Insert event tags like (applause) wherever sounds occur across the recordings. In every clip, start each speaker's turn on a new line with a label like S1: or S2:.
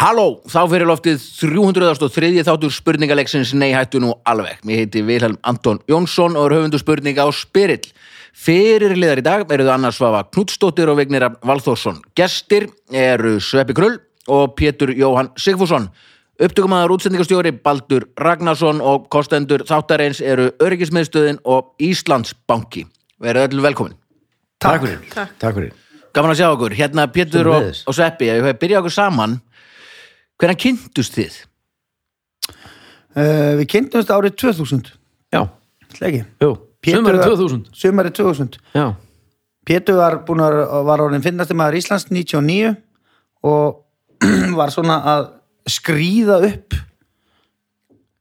S1: Halló, þá fyrir loftið 303. þáttur spurningaleiksins Nei hættu nú alveg. Mér heiti Vilhelm Anton Jónsson og er höfundu spurninga á Spyrill. Fyrirliðar í dag eru þau Anna Svafa Knudsdóttir og Vignir Valþórsson. Gestir eru Sveppi Krull og Pétur Jóhann Sigfússon. Upptökumæðar útsendingastjóri Baldur Ragnarsson og kostendur þáttareins eru Öryggismiðstöðin og Íslandsbanki. Verið öll velkomin.
S2: Takk fyrir. Takk. fyrir.
S1: Gaman að sjá okkur. Hérna Pétur og,
S2: Sömuleiðis.
S1: og Sveppi, ef við byrja okkur saman, hvernig kynntust þið?
S3: Uh, við kynntumst árið 2000,
S2: Já,
S3: ætla ekki.
S2: jú.
S3: Pétur
S2: Sumarið
S3: var-
S2: 2000.
S3: Sumarið 2000.
S2: Já.
S3: Pétur var búin að, var orðin finnasti maður Íslands 99 og (clears throat) var svona að skrýða upp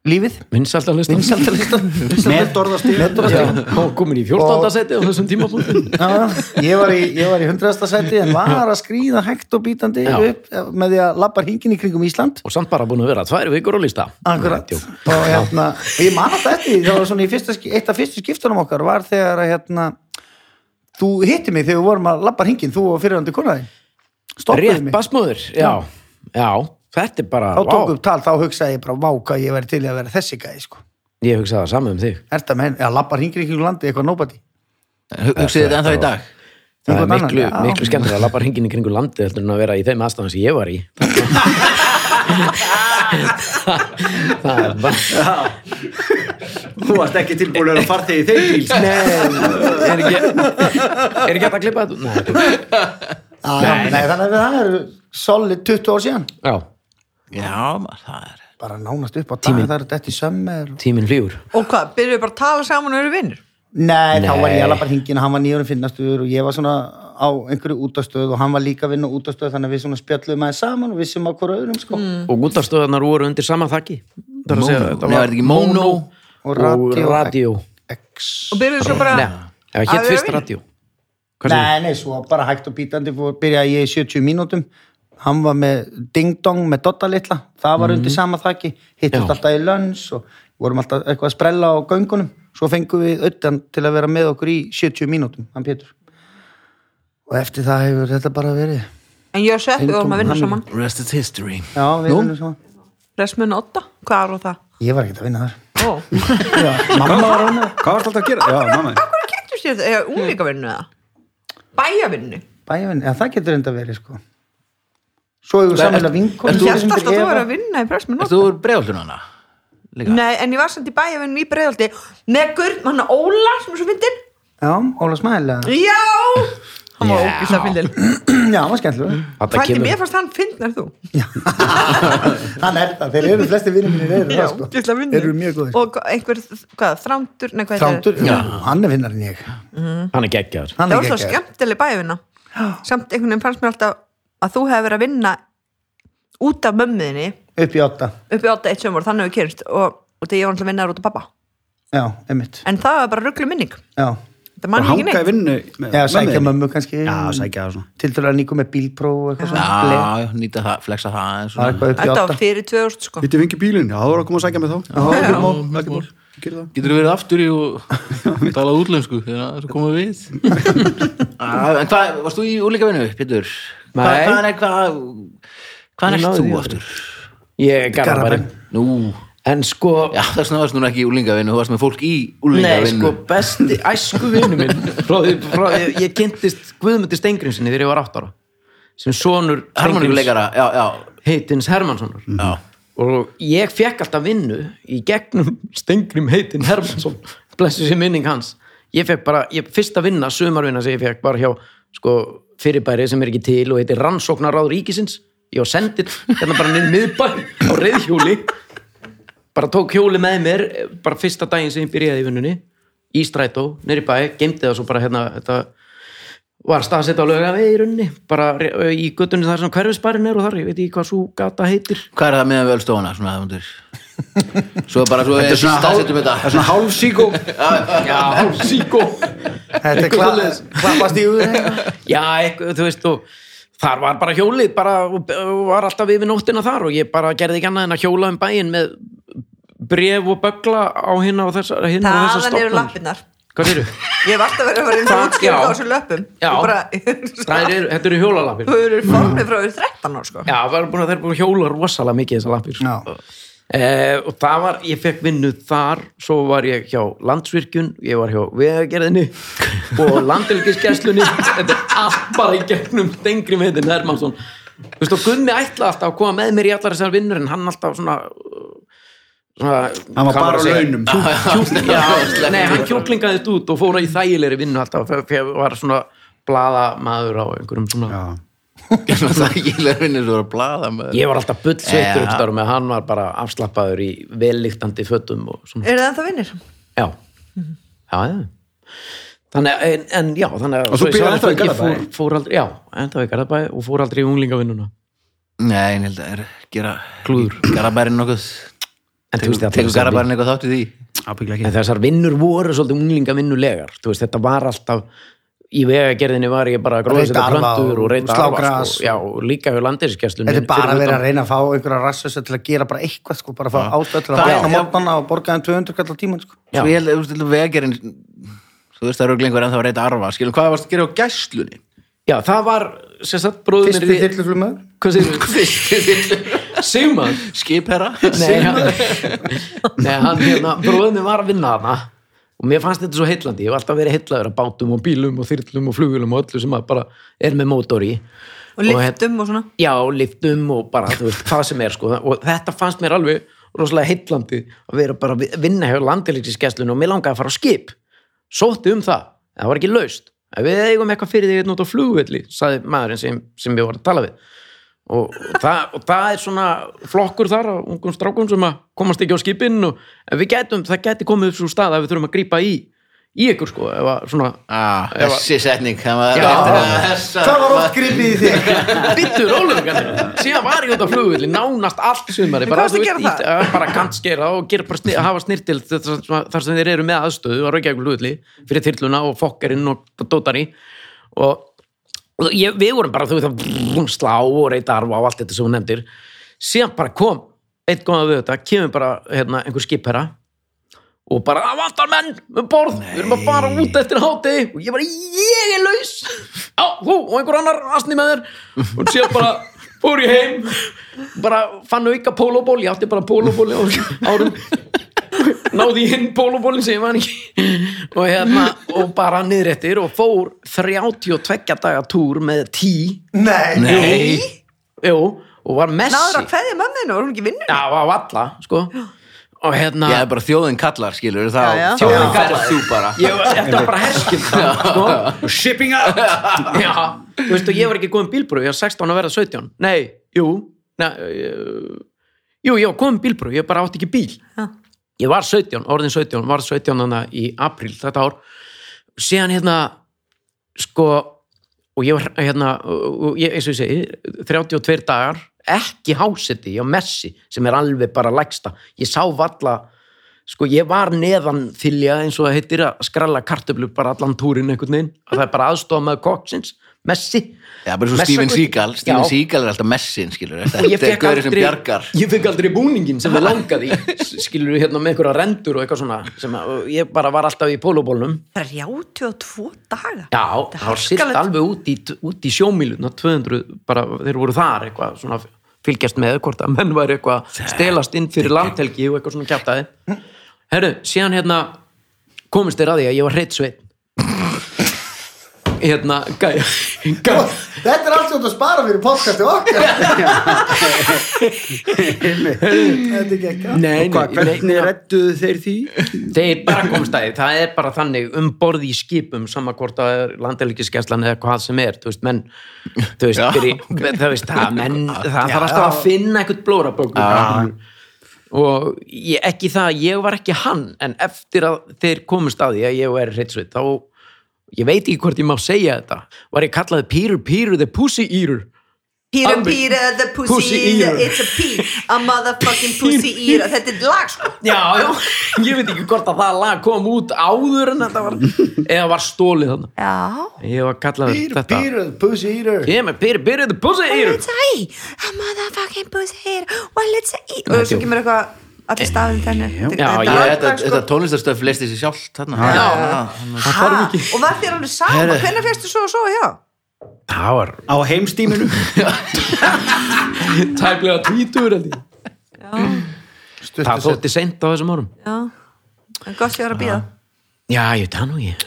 S3: lífið.
S2: Vinsæltalistan.
S3: Vinsældarlistan.
S2: (laughs) Nettorðastíð. Nettorðastíð. Og komin í 14.
S3: Og-
S2: seti á þessum tímapunktum.
S3: Já, já. ég var í, ég var í 100. sæti en var að skrýða hægt og bítandi
S2: Já.
S3: upp með því að labbar hingin í kringum Ísland.
S2: Og samt bara búin að vera tvær vikur á lista.
S3: Akkurat.
S2: Nei, djók.
S3: Og hérna, og ég man alltaf eftir því, það var svona í fyrsta, ski- eitt af fyrstu skiptunum okkar var þegar að hérna, þú hitti mig þegar við vorum að labba hringin, þú og fyrirhandi konaði. Stoppuði
S2: Rétt
S3: mig.
S2: basmöður. Já. Já. Þetta er bara,
S3: Þá tók
S2: vá.
S3: upp tal, þá hugsaði ég bara, vá, hvað ég væri til í að vera þessi gæði, sko.
S2: Ég hugsaði það saman um þig.
S3: Erta með henni, að labba hringin í kringum landi, eitthvað nobody.
S1: Hugsið þetta ennþá í dag?
S2: Það er
S3: Einhvern annan,
S2: miklu,
S3: já.
S2: miklu skemmtir að lappa hringin í kringu landi heldur en að vera í þeim aðstæðan sem ég var í. það er bara,
S4: Þú varst ekki tilbúin að vera farþegi í þeim bíl sko.
S2: er ekki, er ekki hægt að klippa þetta? Nei, þetta er-
S3: Nei, Ah, nei, þannig að það eru solid 20 ár síðan.
S2: já,
S1: Já, maður, það er...
S3: Bara nánast upp á dag, það eru þetta í sömmer.
S2: tíminn flýur.
S5: Og hvað, byrjuðu bara að tala saman og eru vinnur?
S3: Nei, þá var ég
S2: Nei.
S3: alveg bara hringin, hann var nýjörun finnastur og ég var svona á einhverju útastöð og hann var líka að vinna útastöð þannig að við svona spjallum aðeins saman og vissum á hverju öðrum sko.
S2: og útastöðanar voru undir sama þakki það er að segja,
S1: Mono.
S2: þetta
S1: Nei, var þetta ekki Mono?
S3: Og
S2: og
S3: Radio
S2: radio
S3: X.
S5: Og byrjuðu svo bara...
S2: Nei, það
S5: að
S2: hétt
S5: vera
S2: fyrst
S5: vinir?
S2: radio
S3: Nei, nei, svo bara hægt og pítandi fór, byrjaði ég í 70 mínútum hann var með Ding Dong með Dotta litla, það var undir sama þakki hittist
S2: Mhm. Já.
S3: alltaf í lönns og vorum alltaf eitthvað að sprella á göngunum svo fengum við auðan til að vera með okkur í 70 mínútum, hann Pétur og eftir það hefur þetta bara verið
S5: En ég og Sveppi vorum að vinna
S3: Eintóm
S5: saman.
S1: Rest is history.
S3: já, við
S1: Nú?
S3: erum svona
S5: Resmun 8, hvað er það?
S3: Ég var ekkert að vinna þar.
S5: Ó,
S3: Já, mamma var hún.
S4: Hvað varst alltaf að gera? Já, mamma
S5: hvað kynntu sér þetta? Eða úlíkavinnu eða? Bæjavinnu?
S3: Bæjavinn, já það getur enda verið sko. Svo hefur samanlega vinkon.
S5: Ég held alltaf að þú er að vinna í Resmun
S1: Erst
S5: 8.
S1: þú úr bregaldun hana? Líka?
S5: Nei, en ég var samt í bæjavinnu í Breiðaldi með Gurn, hann að Óla, sem er svo fyndin.
S3: Já, Óla Smæla.
S5: (clears throat) Já! Hann var ógíslega fyndin.
S3: Já, hann var skemmtilega.
S2: þetta
S5: Hvað er
S2: kemur,
S5: mér fannst hann fyndnar þú?
S3: hann er það, þeir eru flesti vinnir mínir eru
S5: Já,
S3: það sko.
S5: ógíslega
S3: Þeir
S5: fyndin.
S3: eru mjög góðir.
S5: Og einhver, hvað, þrándur? Nei, hvað heitir það?
S3: Þrándur, já, hann er vinnarinn ég.
S2: hann er geggjaður
S3: Hann er
S5: það var svo
S3: geggjaður.
S5: skemmtileg bæjavinna samt einhvern veginn fannst mér alltaf að þú hefur verið að vinna út af mömmuðinni
S3: Upp í átta,
S5: upp í 8-1 sömur, þannig hefur kynst og, og þegar ég var alltaf að vinna út af pappa
S3: já, einmitt.
S5: en það var bara rugglu minning,
S3: Já,
S5: það mann
S4: Og
S5: ég ekki
S4: hanga í
S5: neitt
S4: vinnu með-
S3: já
S4: með
S3: sækja
S4: þeim.
S3: mömmu kannski.
S4: Já, sækja það svona
S3: Tildur að nýku með bílpróf og eitthvað svona. Ble-
S1: Já, já, nýta það, flexa það eins
S3: Það er
S1: og...
S3: eitthvað upp í
S5: þetta var
S3: átta.
S5: fyrir 2000 sko
S4: Vittu vingi bílinn, já, það voru að koma að sækja mig þá Já, ekki mál, ekki mál Gerðu það.
S1: Getur þú verið aftur í og (laughs) talað útlensku þegar það komum (laughs) við? ah, en hvað, varst þú í úlíka vinnu, Pétur? Hvað-
S2: Nei.
S1: Hvaðan er, hvað, hvaðan
S2: Ég
S1: ert
S2: náði
S1: þú
S2: því aldrei.
S1: aftur?
S2: ég er garabæri
S1: Nú,
S2: en sko,
S1: já, þess vegna varst núna ekki í úlinga þú varst með fólk í úlinga
S2: nei sko besti æsku vinnu (laughs) minn frá því, frá því, ég kynntist Guðmundi Steingrinsinni þegar ég var 8 ára sem sonur
S1: Harmoníkuleikara, já, já,
S2: heitins Hermannssonar
S1: já.
S2: og ég fekk alltaf vinnu í gegnum Stengrim heitin Hermansson blessu sér minning hans ég fekk bara, ég, fyrsta vinna, sumarvinna sem ég fekk var hjá sko, fyrirbæri sem er ekki til og heitir Rannsóknaráð Ríkisins ég var sendið hérna bara niður miðbæn á reyðhjóli bara tók hjóli með mér eh, bara fyrsta daginn sem ég byrjaði í vinnunni í strætó, niður í bæ, geimdi það svo bara hérna, þetta var staðsett á lögum í runni, bara eh, í göttunni þar sem hverfisbærin er og þar, ég veit ekki hvað svo gata heitir
S1: Hvað er það meðan við ölstofana, svona það (laughs) hundur? Svo bara, svo
S4: Þetta er svona
S1: staðsettum
S4: hál-
S1: þetta.
S4: það er svona hálf síkó
S2: Já, síkó
S3: Þetta er kla- klappast í úr.
S2: Já, eitthvað, þú veist, og þar var bara hjólið, bara og og var alltaf yfir nóttina þar og ég bara gerði ekki annað en að hjóla um bæinn með bref og böggla á hérna og þessa, hérna og þessa
S5: þaðan eru
S2: stofnun
S5: lappirnar
S2: Hvað séru?
S5: Ég hef alltaf verið að fara inn
S2: Það-
S5: og útskýra
S2: já.
S5: á þessu löpum
S2: Já.
S5: Þú
S2: (laughs)
S5: bara,
S2: Þetta eru hjólalappir
S5: þú eru formið frá yfir 13 ára sko
S2: Já, það var búin að þeir búin að hjóla rosalega mikið þessar lappir
S3: Já.
S2: Eh, og það var, ég fekk vinnu þar svo var ég hjá landsvirkjun ég var hjá vegagerðinni og landhelgiskesslunni þetta er allt bara í gegnum stengri með þetta Hermansson Þú veist, og Gunni ætlaði alltaf að koma með mér í allar þessar vinnur en hann alltaf svona svona
S4: Hann var
S2: hvað
S4: bara
S2: að
S4: á
S2: segja? (laughs)
S4: launum. sko.
S2: Kjú- kjú- Já, nei, hann kjúklingaðist út og fór í þægilegri vinnu alltaf þegar- þegar var svona blaðamaður á einhverjum svona
S4: Já.
S1: Þægilega vinnur þú að blaða með
S2: Ég var alltaf bull
S1: Já.
S2: sveitur uppstáru með hann var bara afslappaður í velliktandi fötum og svona.
S5: Eru það ennþá vinnir?
S2: Já. Já, já. Þannig, að- en, en já, þannig
S4: Og þú býrð ennþá í
S2: Garðabæ?
S4: Garðabæ?
S2: Fór, fór aldrei, já, ennþá í Garðabæ og fór aldrei í unglingavinnuna.
S1: Nei, en held að er gera
S2: Klúður.
S1: Garabærin nokkuð
S2: En, þú veist, þetta
S1: Tekur
S2: er samt-
S1: garabærin eitthvað þátt í því
S4: Ábyggilega
S2: en þessar vinnur voru svolítið unglingavinnulegar. Þú veist, þetta var alltaf, í vegagerðinni var ég bara að gróða
S3: Reyta
S2: sér
S3: arfa
S2: plöntur
S3: og
S2: og reyta
S3: slá
S2: arfa,
S3: gras.
S2: sko. Já, og líka hjá landirskesslunni.
S3: Þetta er bara að vera að reyna að fá einhverja rassösa til að gera bara eitthvað sko, bara að fá ástöð til að
S1: Það-
S3: vakna
S1: já.
S3: mótnana og borga þeim 200 kallar tíman sko.
S2: Já.
S1: Svo ég held að þú veist, vegarinn Þú veist það eru lengur en það var reyta arfa Skilum, hvað varst að gera á gæslunni?
S2: Já, það var, sem sagt, bróðum
S3: Fyrsti þyrluflumöður
S2: Hvað
S3: (laughs)
S2: segir þú? Sigmann?
S1: Skipherra?
S2: (laughs) Nei, hann, nei, hann hérna, bróðinni var að vinna hana og mér fannst þetta svo heillandi, ég hef alltaf verið heillaður að bátum og bílum og þyrlum og flugulum og öllu sem að bara er með mótor í
S5: Og liftum og svona
S2: og, já, liftum og bara þú veist, hvað sem er sko og þetta fannst mér alveg rosalega heillandi að vera bara að vinna hjá landilíksiskesslun og mér langaði að fara á skip sótti um það, en það var ekki laust Ef við eigum eitthvað fyrir því hérna út á flugvelli sagði maðurinn sem, sem við vorum að tala við og, og, það, og það er svona flokkur þar á ungum strákum sem að komast ekki á skipinn og en við gætum, það gæti komið upp svo stað að við þurfum að grípa í í ykkur sko, ef að svona
S1: Ah,
S2: Ef að-
S1: þessi setning það var-
S2: Já.
S1: Þessa-
S3: Það var oft gripið í þig
S2: Bittu rólum kannski Síðan var ég út á flugvöldi nánast allt sumari
S5: En hvað varstu að gera það?
S2: það? Bara kantskera og gera bara sni, hafa snirtil þar sem þeir eru með aðstöðu að raukja ykkur flugvöldi fyrir þyrluna og fokkerinn og dótari og, og ég, við vorum bara þú veist að brrrr, slá og reyta arfa og allt þetta sem hún nefndir síðan bara kom einn góðan við þetta kemur bara hérna, einhver skipherra og bara, það vantar menn um borð við erum að fara út eftir háti og ég bara, ég er laus já, þú og einhver annar asni með þér og síðan bara fór ég heim bara fann auka pólóból ég átti bara pólóból á árum náði í hinn pólóbólin sem ég man ekki og hérna, og bara niðréttir og fór 32 daga túr með tí
S3: Nei,
S1: (laughs) Nei
S2: jú, og var
S5: Náður að
S2: messi
S5: hverja mömminu, var hún ekki vinnur?
S2: já, á alla, sko og hérna
S1: Já, bara þjóðin kallar, skilur þá,
S5: Já, já.
S1: þá
S2: Þjóðin kallar.
S1: ferð þú bara
S2: Ég, var- þetta var bara herskildan sko.
S4: Shipping up!
S2: Já, þú veist og ég var ekki góðum bílbröð, ég var 16 að verða 17 Nei, jú na, uh, Jú, ég var góðum bílbröð, ég bara átti ekki bíl
S5: Já.
S2: Ég var 17, orðin 17, var 17 hana í apríl þetta ár Síðan hérna, sko og ég var hérna og og ég, eins og ég segi, 32 dagar ekki háseti, ég á Messi sem er alveg bara lægsta ég sá valla, sko ég var neðan þylja eins og það heitir að skralla kartöflu bara allan túrin einhvern veginn að það er bara aðstofa með koksins Messi
S1: Já, bara svo
S2: Messa-
S1: Steven Seagal Steven
S2: Já.
S1: Seagal er alltaf messin, skilur
S2: Og ég
S1: Þetta er
S2: fekk
S1: gaurið sem bjargar
S2: aldrei ég fekk aldrei búningin sem við langaði í, skilur hérna með einhverja rendur og eitthvað svona sem að, og ég bara var alltaf í pólubólnum
S5: Bara 32 daga
S2: Já,
S5: er
S2: það var silt
S5: harkalegt.
S2: alveg út í, út í sjómíluna, 200, bara þeir voru þar eitthvað svona fylgjast með hvort að menn væri eitthvað að stelast inn fyrir landhelgi og eitthvað svona kjátaði. Herru, síðan hérna komist þeir að því að ég var hreitt sveit. Hérna, gæja, gæja.
S3: þetta er allt sem þú ert að spara fyrir podcasti
S2: (laughs)
S3: okkar Þetta er ekki ekki
S2: Nei,
S4: Hvað, hvernig redduðu þeir því?
S2: Þeir bara komst að því, það er bara þannig um borð í skipum sama hvort að er landelgiskeslan eða hvað sem er, þú veist, menn þú veist,
S1: Já,
S2: fyrir, (laughs) þú veist, það menn, það þarf alltaf að finna eitthvað blórabók og ég, ekki það, ég var ekki hann en eftir að þeir komust að því að ég er hreitsveit, þá ég veit ekki hvort ég má segja þetta var ég kallaði Pírur Pírur the Pussy Eater
S5: Píra,
S2: Alveg.
S5: píra, the pussy,
S2: Pussy
S5: eater,
S2: eater.
S5: it's a pee A
S2: (laughs)
S5: motherfucking pussy eater Þetta er lag sko
S2: Já, já, (laughs) ég veit ekki hvort að það lag kom út áður en þetta var eða var stólið þannig
S5: (laughs) Já
S2: Ég var kallaður
S3: Pýr,
S2: þetta
S3: pýr, pussy eater
S2: Ég er með pýr, pýr, þetta er pussy
S5: Well
S2: eater
S5: it's a he, a motherfucking pussy eater Well it's a eater Og svo kemur eitthvað allir staðin þenni
S2: Eh, Já, ég-
S1: Þetta, þetta tónlistarstöf lesti sér sjálf þarna.
S5: sko- Já.
S1: Já.
S5: og var þér alveg sama,
S1: Heyrðu.
S5: hvenær fyrstu svo og svo já,
S2: það var
S4: á heimstíminu
S2: tæplega tvítur held ég.
S5: já,
S2: það þótti seint á þessum árum
S5: já. En gott ég var að býða
S2: já, ég veit það nú ég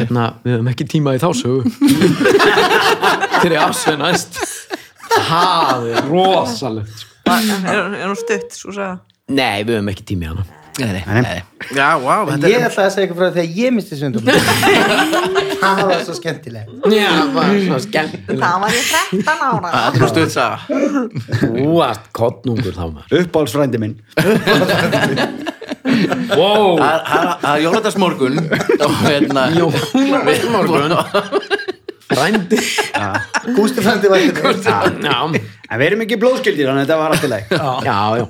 S2: hérna, við höfum ekki tíma í þá (laughs) sögu þegar ég afsveið næst það er rosalegt sko.
S5: er, er hún stutt, svo sagði
S2: nei, við höfum ekki tíma í hana
S1: Nei, nei, nei. Já, wow,
S3: En
S1: þetta
S3: ég
S1: er...
S3: ætlaði að segja ykkur frá því þegar ég misti sundum
S1: (laughs)
S3: Það var svo skemmtilegt
S2: já, það var svona skemmtilega
S5: það var ég 13 ára
S1: Þetta er stutt saga.
S2: þú varst kottnungur þá maður
S4: (laughs) uppáhaldsfrændi minn
S2: wow.
S1: Það- Það það er jólatasmorgun og hérna
S2: Jólatasmorgun. rændi
S3: Gústi frændi var þetta
S2: já,
S4: hérna. en við erum ekki blóðskildir þannig að þetta var alltaf leik
S2: já, já,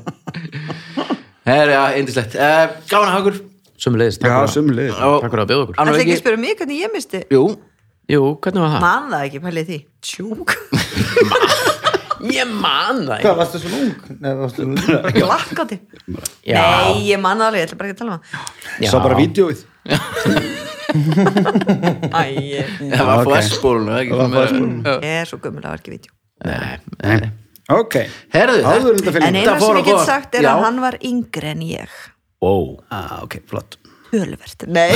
S1: Herra, já, eindislegt uh, Gána Hagur
S2: sömulegist
S4: já,
S2: takk
S4: sumlið
S1: og
S2: fyrir að bjóða okkur
S5: Það
S1: annar
S5: er ekki
S1: ekki
S5: að spyrja mig hvernig ég misti
S1: Jú,
S2: jú, hvernig var það?
S5: Man það ekki, pælið því Tjúk,
S2: ég man það ekki.
S3: Hvað varstu svona ung? Nei, varstu
S1: (laughs)
S3: svona ung?
S5: glakkandi
S2: Já.
S5: Nei, ég man það alveg, ég ætla bara ekki að tala um það
S2: Já.
S4: sá bara vídjóið
S5: Æ, ég-
S1: það var
S4: ok.
S1: flæsbólun
S4: Það var flashbólun.
S5: ég er svo gömul að var ekki vídeo
S2: Nei,
S1: Eh,
S4: ok,
S1: Herðu,
S4: áður en þetta fyrir
S5: En eina
S1: Það fór
S5: sem
S1: að
S5: ég get
S1: fór.
S5: sagt er
S1: Já.
S5: að hann var yngri en ég
S2: wow.
S4: ah, ok, flott
S5: Tölvert (laughs) Nei,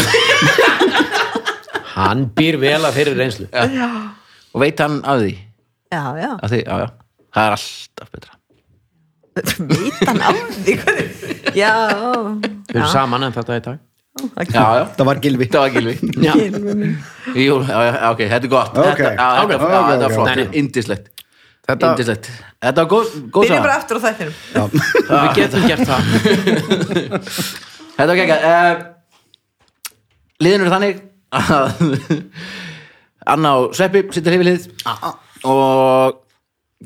S2: hann býr vel að fyrir reynslu
S1: og veit hann af því,
S5: já, já
S1: af því já, já. Það er alltaf betra
S5: Veit hann af því hvernig Já,
S2: við erum saman en þetta í dag
S1: Já, já,
S4: það var gilvi
S1: þetta var gilvi
S2: já.
S1: Jú, já, já, ok, þetta er gott
S4: Ok.
S1: Þetta, já, þetta, já,
S4: Ok, ok,
S1: þetta
S4: ok.
S1: var
S2: Nei,
S1: flott,
S2: nei.
S1: indislegt
S2: Þetta-
S1: Indislegt Þetta var góð, góð
S5: Byrjum
S1: saga
S5: bara aftur á þættinum
S2: við getum gert það (laughs)
S1: Þetta var geggjað uh, Liðin eru þannig að (laughs) Anna og Sveppi sittir hefði lið og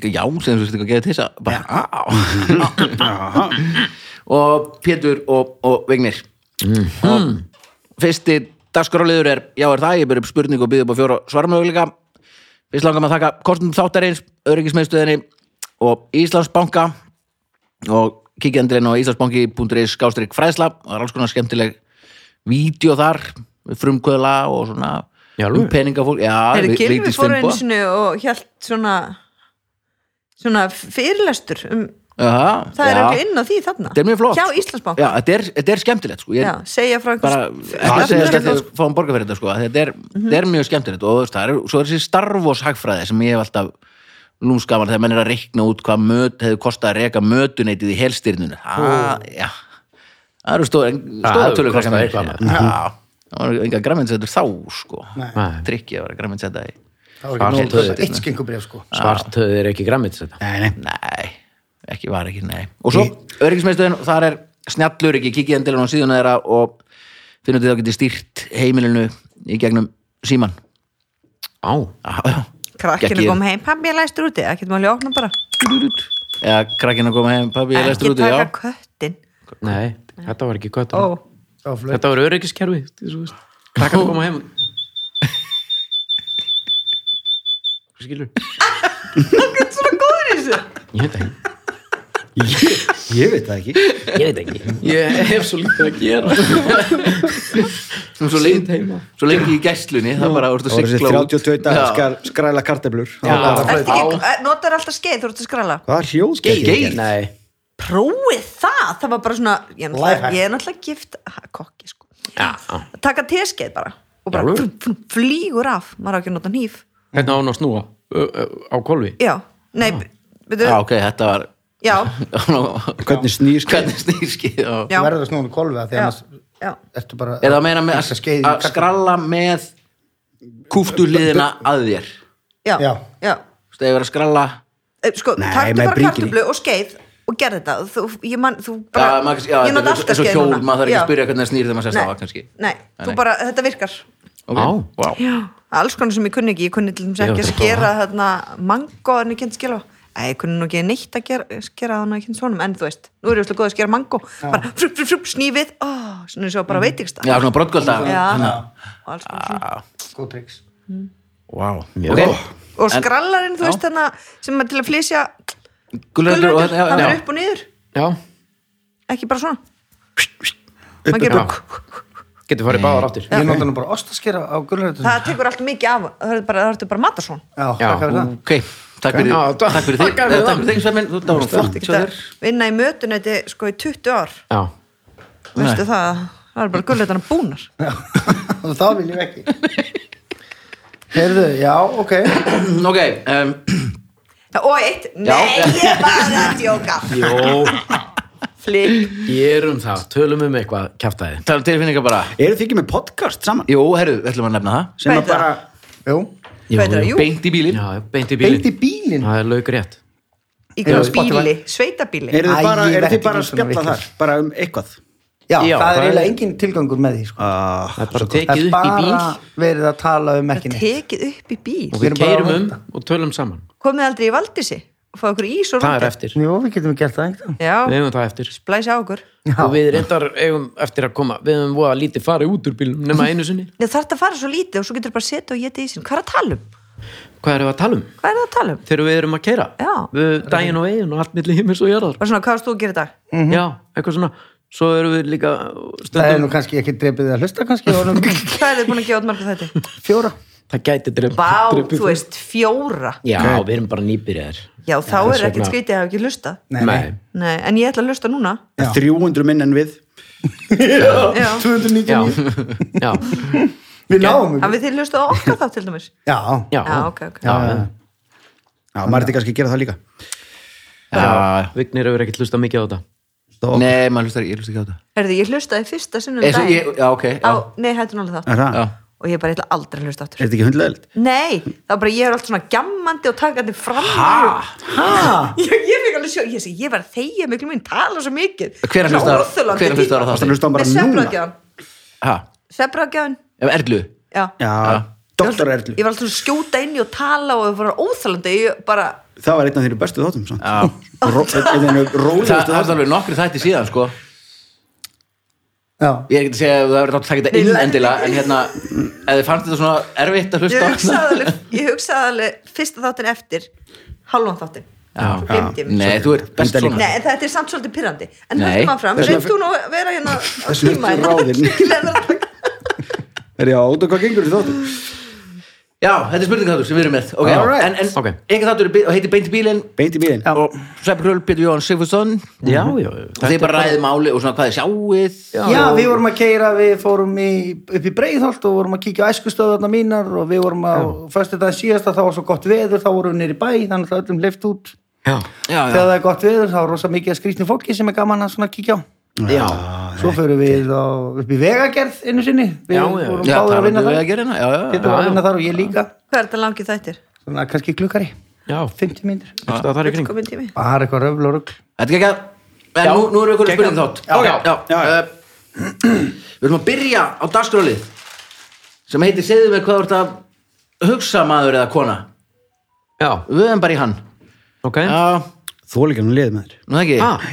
S1: já, sem þú veist ekki að geða til þess að bara, á, á. (laughs) og Pétur og, og Vignir
S2: Mhm.
S1: og fyrsti dagskráliður er já er það, ég byrja upp spurningu og býða upp á fjóra svarmöguleika fyrst langar maður að taka kostum þáttarins, öryggismeðstöðinni og Íslandsbanka og kikið endurinn á íslandsbanki.is skástrík fræðsla og það er alls konar skemmtileg vídeo þar við frumkvöðla og svona
S2: Í alvöru?
S1: um peningafólk já,
S5: Þeir
S1: Vi-
S5: Gylfi
S1: Vigdís
S5: fór
S1: Finnboga.
S5: einu sinni og hjælt svona svona fyrirlestur um,
S1: Jaha,
S5: það er
S1: já.
S5: alveg inn á því þarna
S1: Þetta er mjög flott
S5: Hjá Íslandsbank
S1: Já, þetta er, þetta er skemmtilegt sko. Ég
S5: Já, segja frá einhvers
S1: bara, ekki að segja þetta að fáum borga fyrir þetta sko. Þetta er,
S5: Mhm.
S1: þetta er mjög skemmtilegt og þú veist, það er, svo er þessi starfos hagfræði sem ég hef alltaf lúmskaman þegar mann er að reikna út hvað möt hefði kostað að reka mötuneytið í helstyrnunu Það, já Það eru stóð,
S2: Það
S1: stóða tölur
S2: kostaði
S1: kostað
S2: eitthvað annað.
S1: Já, það var enga græmminsettur þá sko
S2: Nei.
S1: Tryggi að vera græmminsetta í
S3: Það var
S2: Svart
S3: ekki nóg
S2: höfuð.
S3: Eitt skengubref sko
S2: svartöð er ekki græmit þetta
S4: nei, nei,
S1: Nei, ekki var ekki, nei Og svo, öryggismeðstöðin, þar er snjallur ekki kikið endilega á síðuna þeirra og finnum þið þá getið stýrt heimilinu í gegnum síman
S2: á,
S5: krakkinu kom heim, pabbi ég læstur úti það getur maður að opna bara
S1: Eða krakkinn að koma heim, pabbi, ég
S5: ekki
S1: læstur úti,
S5: taka
S1: já
S5: köttin
S2: nei, þetta var ekki gott
S5: ó,
S3: Það var flott
S2: þetta var öryggiskerfi þú veist. krakkar koma heim skilur þú getur svona
S4: ég, ég veit það ekki
S2: góður í þessu ég veit ekki, ég veit ekki ég hef svo lítið að gera
S1: Svo lengi, svo lengi í gæslunni, það bara úrst að
S4: það voru þessi
S1: sigla
S4: 32 dagar
S1: Já.
S4: skar, skræla karteblur
S2: Já.
S4: Það var-
S5: Ertu ekki- eh, notar alltaf skeið þú ert að skrala
S4: hvað er hljóð?
S1: Skeið.
S2: nei,
S5: prófið það, það var bara svona ég er náttúrulega,
S3: Lifehack.
S5: ég er náttúrulega gift ha, kokki sko,
S2: já,
S1: Ah,
S2: já.
S5: taka teskeið bara og bara
S2: Já,
S5: frum, frum, flýgur af maður á ekki að nota hníf
S2: hvernig Hérna á hún að snúa Ö, ö, á kolvi
S5: já, nei, veitu,
S1: Já, ok, þetta var (laughs)
S5: já,
S4: hvernig snýr skeið?
S1: Hvernig snýrski já.
S5: já,
S3: Þú verður að snúa um kolfi að því
S5: já,
S3: annars
S5: já.
S3: ertu bara
S1: Er það að meina með
S3: Fixa skeið í
S1: að- að
S3: kartöflu.
S1: skralla með kúftuliðina að þér
S5: já,
S3: Já.
S5: já.
S1: Þú veist, ef ég er að skralla
S5: Eh, sko,
S4: Nei,
S5: taktu
S4: með
S5: bara
S4: bríkinni.
S5: kartublu og skeið og gerð þetta þú, ég, man, þú bara,
S1: Já, maður, já,
S5: ég
S1: þetta
S5: nota
S1: er
S5: alltaf
S1: eins og
S5: skeið
S1: hjól,
S5: núna.
S1: maður þarf ekki
S5: Já.
S1: að spyrja hvernig það snýr þegar maður sérst á
S5: nei,
S1: það kannski
S5: nei, þú
S1: nei.
S5: bara, þetta virkar
S1: Ok,
S2: Á.
S1: wow.
S5: já. alls konar sem ég kunni ekki, ég kunni til dæmis ekki að
S2: þetta er
S5: skera þarna mango en ég kynnt skilfa Æ, ég kunni nú ekki neitt að gera, skera þannig að kynnt svonum, en þú veist, nú er ég svolítið góð að skera mango bara frup, frup, frup, snýfið ó, svona svo bara veit ekki stað
S1: Já, Ah, svona brottgölda
S5: já, og alls konar svona
S3: Góð triks
S1: wow.
S2: Mjög
S1: okay.
S2: gott.
S5: og skrallarinn, þú veist, þarna sem er til að flysja
S1: Gulrætur og
S5: gulrætur,
S1: þetta já,
S5: hann
S1: já.
S5: er upp og niður
S2: já,
S5: ekki bara svona maður gerir bara
S2: getur farið báðar áttir
S3: Ég nota nú bara ostaskera á gulrætum
S5: það tekur allt mikið af, það er bara, það er bara matar svona
S3: Já,
S2: Já.
S3: takk fyrir það
S1: ok, takk fyrir,
S2: Já, takk-
S1: takk fyrir
S2: takk
S1: þig
S2: fyrir
S1: Eh,
S2: það.
S1: takk fyrir þig Svemin, þú dárum flott hjá þér.
S5: vinna í mötunöti sko í 20 ár
S2: já,
S5: veistu það, það er bara gulletan að búnar
S3: (laughs) Og það viljum
S1: (laughs)
S3: við ekki Heyrðu, já, ok
S1: ok, um,
S5: Já, og eitt, nei ég er bara að djóka
S2: jó
S5: flip,
S2: gerum það, tölum um eitthvað kjaftaði
S1: tala um tilfinningar bara
S4: Eru þið ekki með podcast saman?
S1: jú, herru, við ætlum að nefna það
S4: Sem að
S5: Hvað er
S4: bara,
S3: Jú,
S2: Jú,
S5: hvað er það,
S2: jú.
S5: jú
S1: beint í bílinn
S2: já, beint í bílinn
S3: beint í bílinn
S2: það er lauk rétt
S5: í hverju
S3: Spotify.
S5: bíli, sveitabíli
S4: eru
S3: Æ,
S4: þið bara,
S3: ég
S4: eru
S3: veit
S4: þið bara
S3: ekki
S4: að
S3: svona
S4: spjalla
S3: vitlaust.
S4: þar? Bara um eitthvað?
S3: Já,
S2: Já,
S3: það
S2: það
S3: er
S2: er-
S3: eiginlega engin tilgangur með því sko.
S4: Ah,
S2: það er bara
S3: Það
S2: tekið
S3: er
S2: upp í bíl
S3: bara verið að tala um ekki neitt
S5: tekið upp í bíl
S2: og
S3: við
S2: við
S3: erum bara
S2: keirum
S3: að
S2: um
S3: vanda.
S2: og tölum saman
S5: komið aldrei í valdísi og fá okkur ís og
S2: það er
S5: rúndir.
S2: eftir,
S3: Jú, við getum gert það einhvern
S5: já,
S2: við hefum það eftir
S5: blæsa á okkur
S2: og við reyndar eigum eftir að koma við hefum voða lítið farið út úr bílum nema einu
S5: (laughs)
S2: sinni
S5: Ég þarf að fara svo lítið og svo getur bara að setja og geta í sín. Hvað er að tala um?
S2: hvað erum við að tala um?
S5: Hvað er það að tala um?
S2: þegar við erum að keira
S5: Já.
S2: við daginn og eigin og allt milli himmins og jörðar
S5: Bara svona, hvað varst þú að gera í dag?
S2: já, eitthvað svona svo erum við líka stundum,
S3: Það er nú
S2: það,
S3: kannski ekki drefið að hlusta kannski
S2: (laughs)
S3: honum
S5: Hvað er þið búin að gefa út marga
S3: (laughs)
S5: þetta?
S3: fjóra
S2: gæti drefn
S5: Vá, þú veist, fjóra.
S2: já, við erum bara nýbyrjar
S5: Já, þá
S2: Þess
S5: er ekkert
S2: vegna-
S5: skrítið að hafa ekki hlusta.
S3: Nei, nei.
S5: Nei, en ég ætla að hlusta núna.
S4: 300 minn en við
S5: Já,
S3: (laughs) 299
S2: já, já,
S3: Við náum
S5: en við þið hlusta á okkar þá til dæmis.
S3: Já,
S2: já,
S5: Já, ok, ok.
S2: já, já.
S4: Já, maður er þetta kannski að gera það líka
S1: Já.
S2: Vignir hefur ekkert hlusta mikið á þetta
S4: Þó-
S1: nei, maður hlustar, ég hlusta ekki á þetta
S5: Herði, ég hlustaði fyrsta sinnum
S1: Ég-
S5: Um daginn.
S1: ég- já, ok, já.
S5: Á, nei, hættu nálega
S4: Er
S5: það.
S4: það?
S1: já,
S5: Og ég bara ætla aldrei að hlusta
S4: Er
S5: áttur.
S4: þetta ekki hundleðild?
S5: Nei, þá bara ég er allt svona gjammandi og takandi fram.
S3: ha,
S5: (laughs) Ég, ég fikk alveg sjó, ég sé, ég var að þegja miklu mín, tala svo mikið.
S1: hver
S5: Svona
S1: hlustar
S5: óþolandi
S1: hver hlustar á
S5: típa.
S1: það
S4: Hlustar hlusta á hann bara
S5: Með
S4: núna?
S5: svefnráðgjafann.
S1: ha,
S5: Svefnráðgjafinn,
S1: ef erlu
S5: já.
S4: Já,
S5: Ég
S4: doktor
S5: var-
S4: Erlu
S5: Ég var alltaf að skjóta inn í og tala og það var óþalandi, ég bara,
S4: Það var einn af þeirri bestu þáttum samt.
S1: Já.
S4: Ró- einn af þeirri
S1: það
S4: rólegustu
S1: það er
S4: þáttum
S1: alveg nokkri þætti síðan sko
S3: já
S1: ég er ekki að segja að það verður þátt að taka þetta inn
S5: Nei.
S1: endilega en hérna, ef þið fannst þetta svona erfitt að
S5: ég
S1: hlusta á
S5: hugsaði alveg, ég hugsaði alveg fyrsta þáttin eftir, halvan þáttin.
S1: Já.
S5: Svo gleymdi ég mér.
S1: Nei, þú ert best
S4: Enda líka.
S1: svona
S5: Nei, en þetta er samt svolítið pyrrandi. En
S1: Nei.
S5: höldum áfram,
S4: Þess vegna-
S5: reyndu nú að vera hérna á
S4: Þess vegna ertu
S5: (laughs)
S4: ráðinn.
S5: tíma.
S4: Er já, út og hvað gengur í þáttum?
S1: Já, þetta er spurningaþáttur sem við erum með okay, já.
S4: Alright.
S1: En, en
S2: Ok.
S1: ekki þáttur er bi- og heitir Beint í bílinn
S4: Beint í bíðin
S1: og Svepp Kröll, Pétur Jóhann Sigfússon og
S2: já, já, já.
S1: þið bara ræðið máli og svona hvað þið sjáið
S3: Já, við vorum að keira, við fórum í, upp í Breiðholt og vorum að kíkja á æskustöðarna mínar og við vorum að, fyrstu dag síðasta þá var svo gott veður, þá vorum við nýri bæ, þannig að öllum leift út.
S2: já.
S1: já, já.
S3: Þegar það er gott veður, þá er rosa mikið að skrýtni fólki sem er gaman að svona kíkja á.
S2: já.
S3: Svo förum við á, upp í vegagerð einu sinni, við
S2: Já, já.
S3: vorum
S1: já
S3: báður að
S1: talaðu
S3: vinna
S1: við
S3: þar,
S1: að gera hérna já, já,
S3: Pétur var að vinna þar og ég líka,
S5: Hvað er þetta langið þættir?
S3: svona kannski klukkari,
S2: já.
S3: 50 mínir.
S2: Einhvers staðar þar í kring.
S5: Komin tími.
S3: Bara eitthvað röfl og rugl.
S1: Þetta er ekki að En nú, nú erum við einhverjum spurning þátt
S2: Já, já.
S1: já. Uh, Við erum að byrja á dagskrálið sem heitir Segðu mig hvað þú ert að hugsa maður eða kona
S2: já,
S1: Við erum bara í hann
S2: ok
S1: Já, nú
S4: Þú líka nú liðið með þér
S1: það ekki
S2: Ah.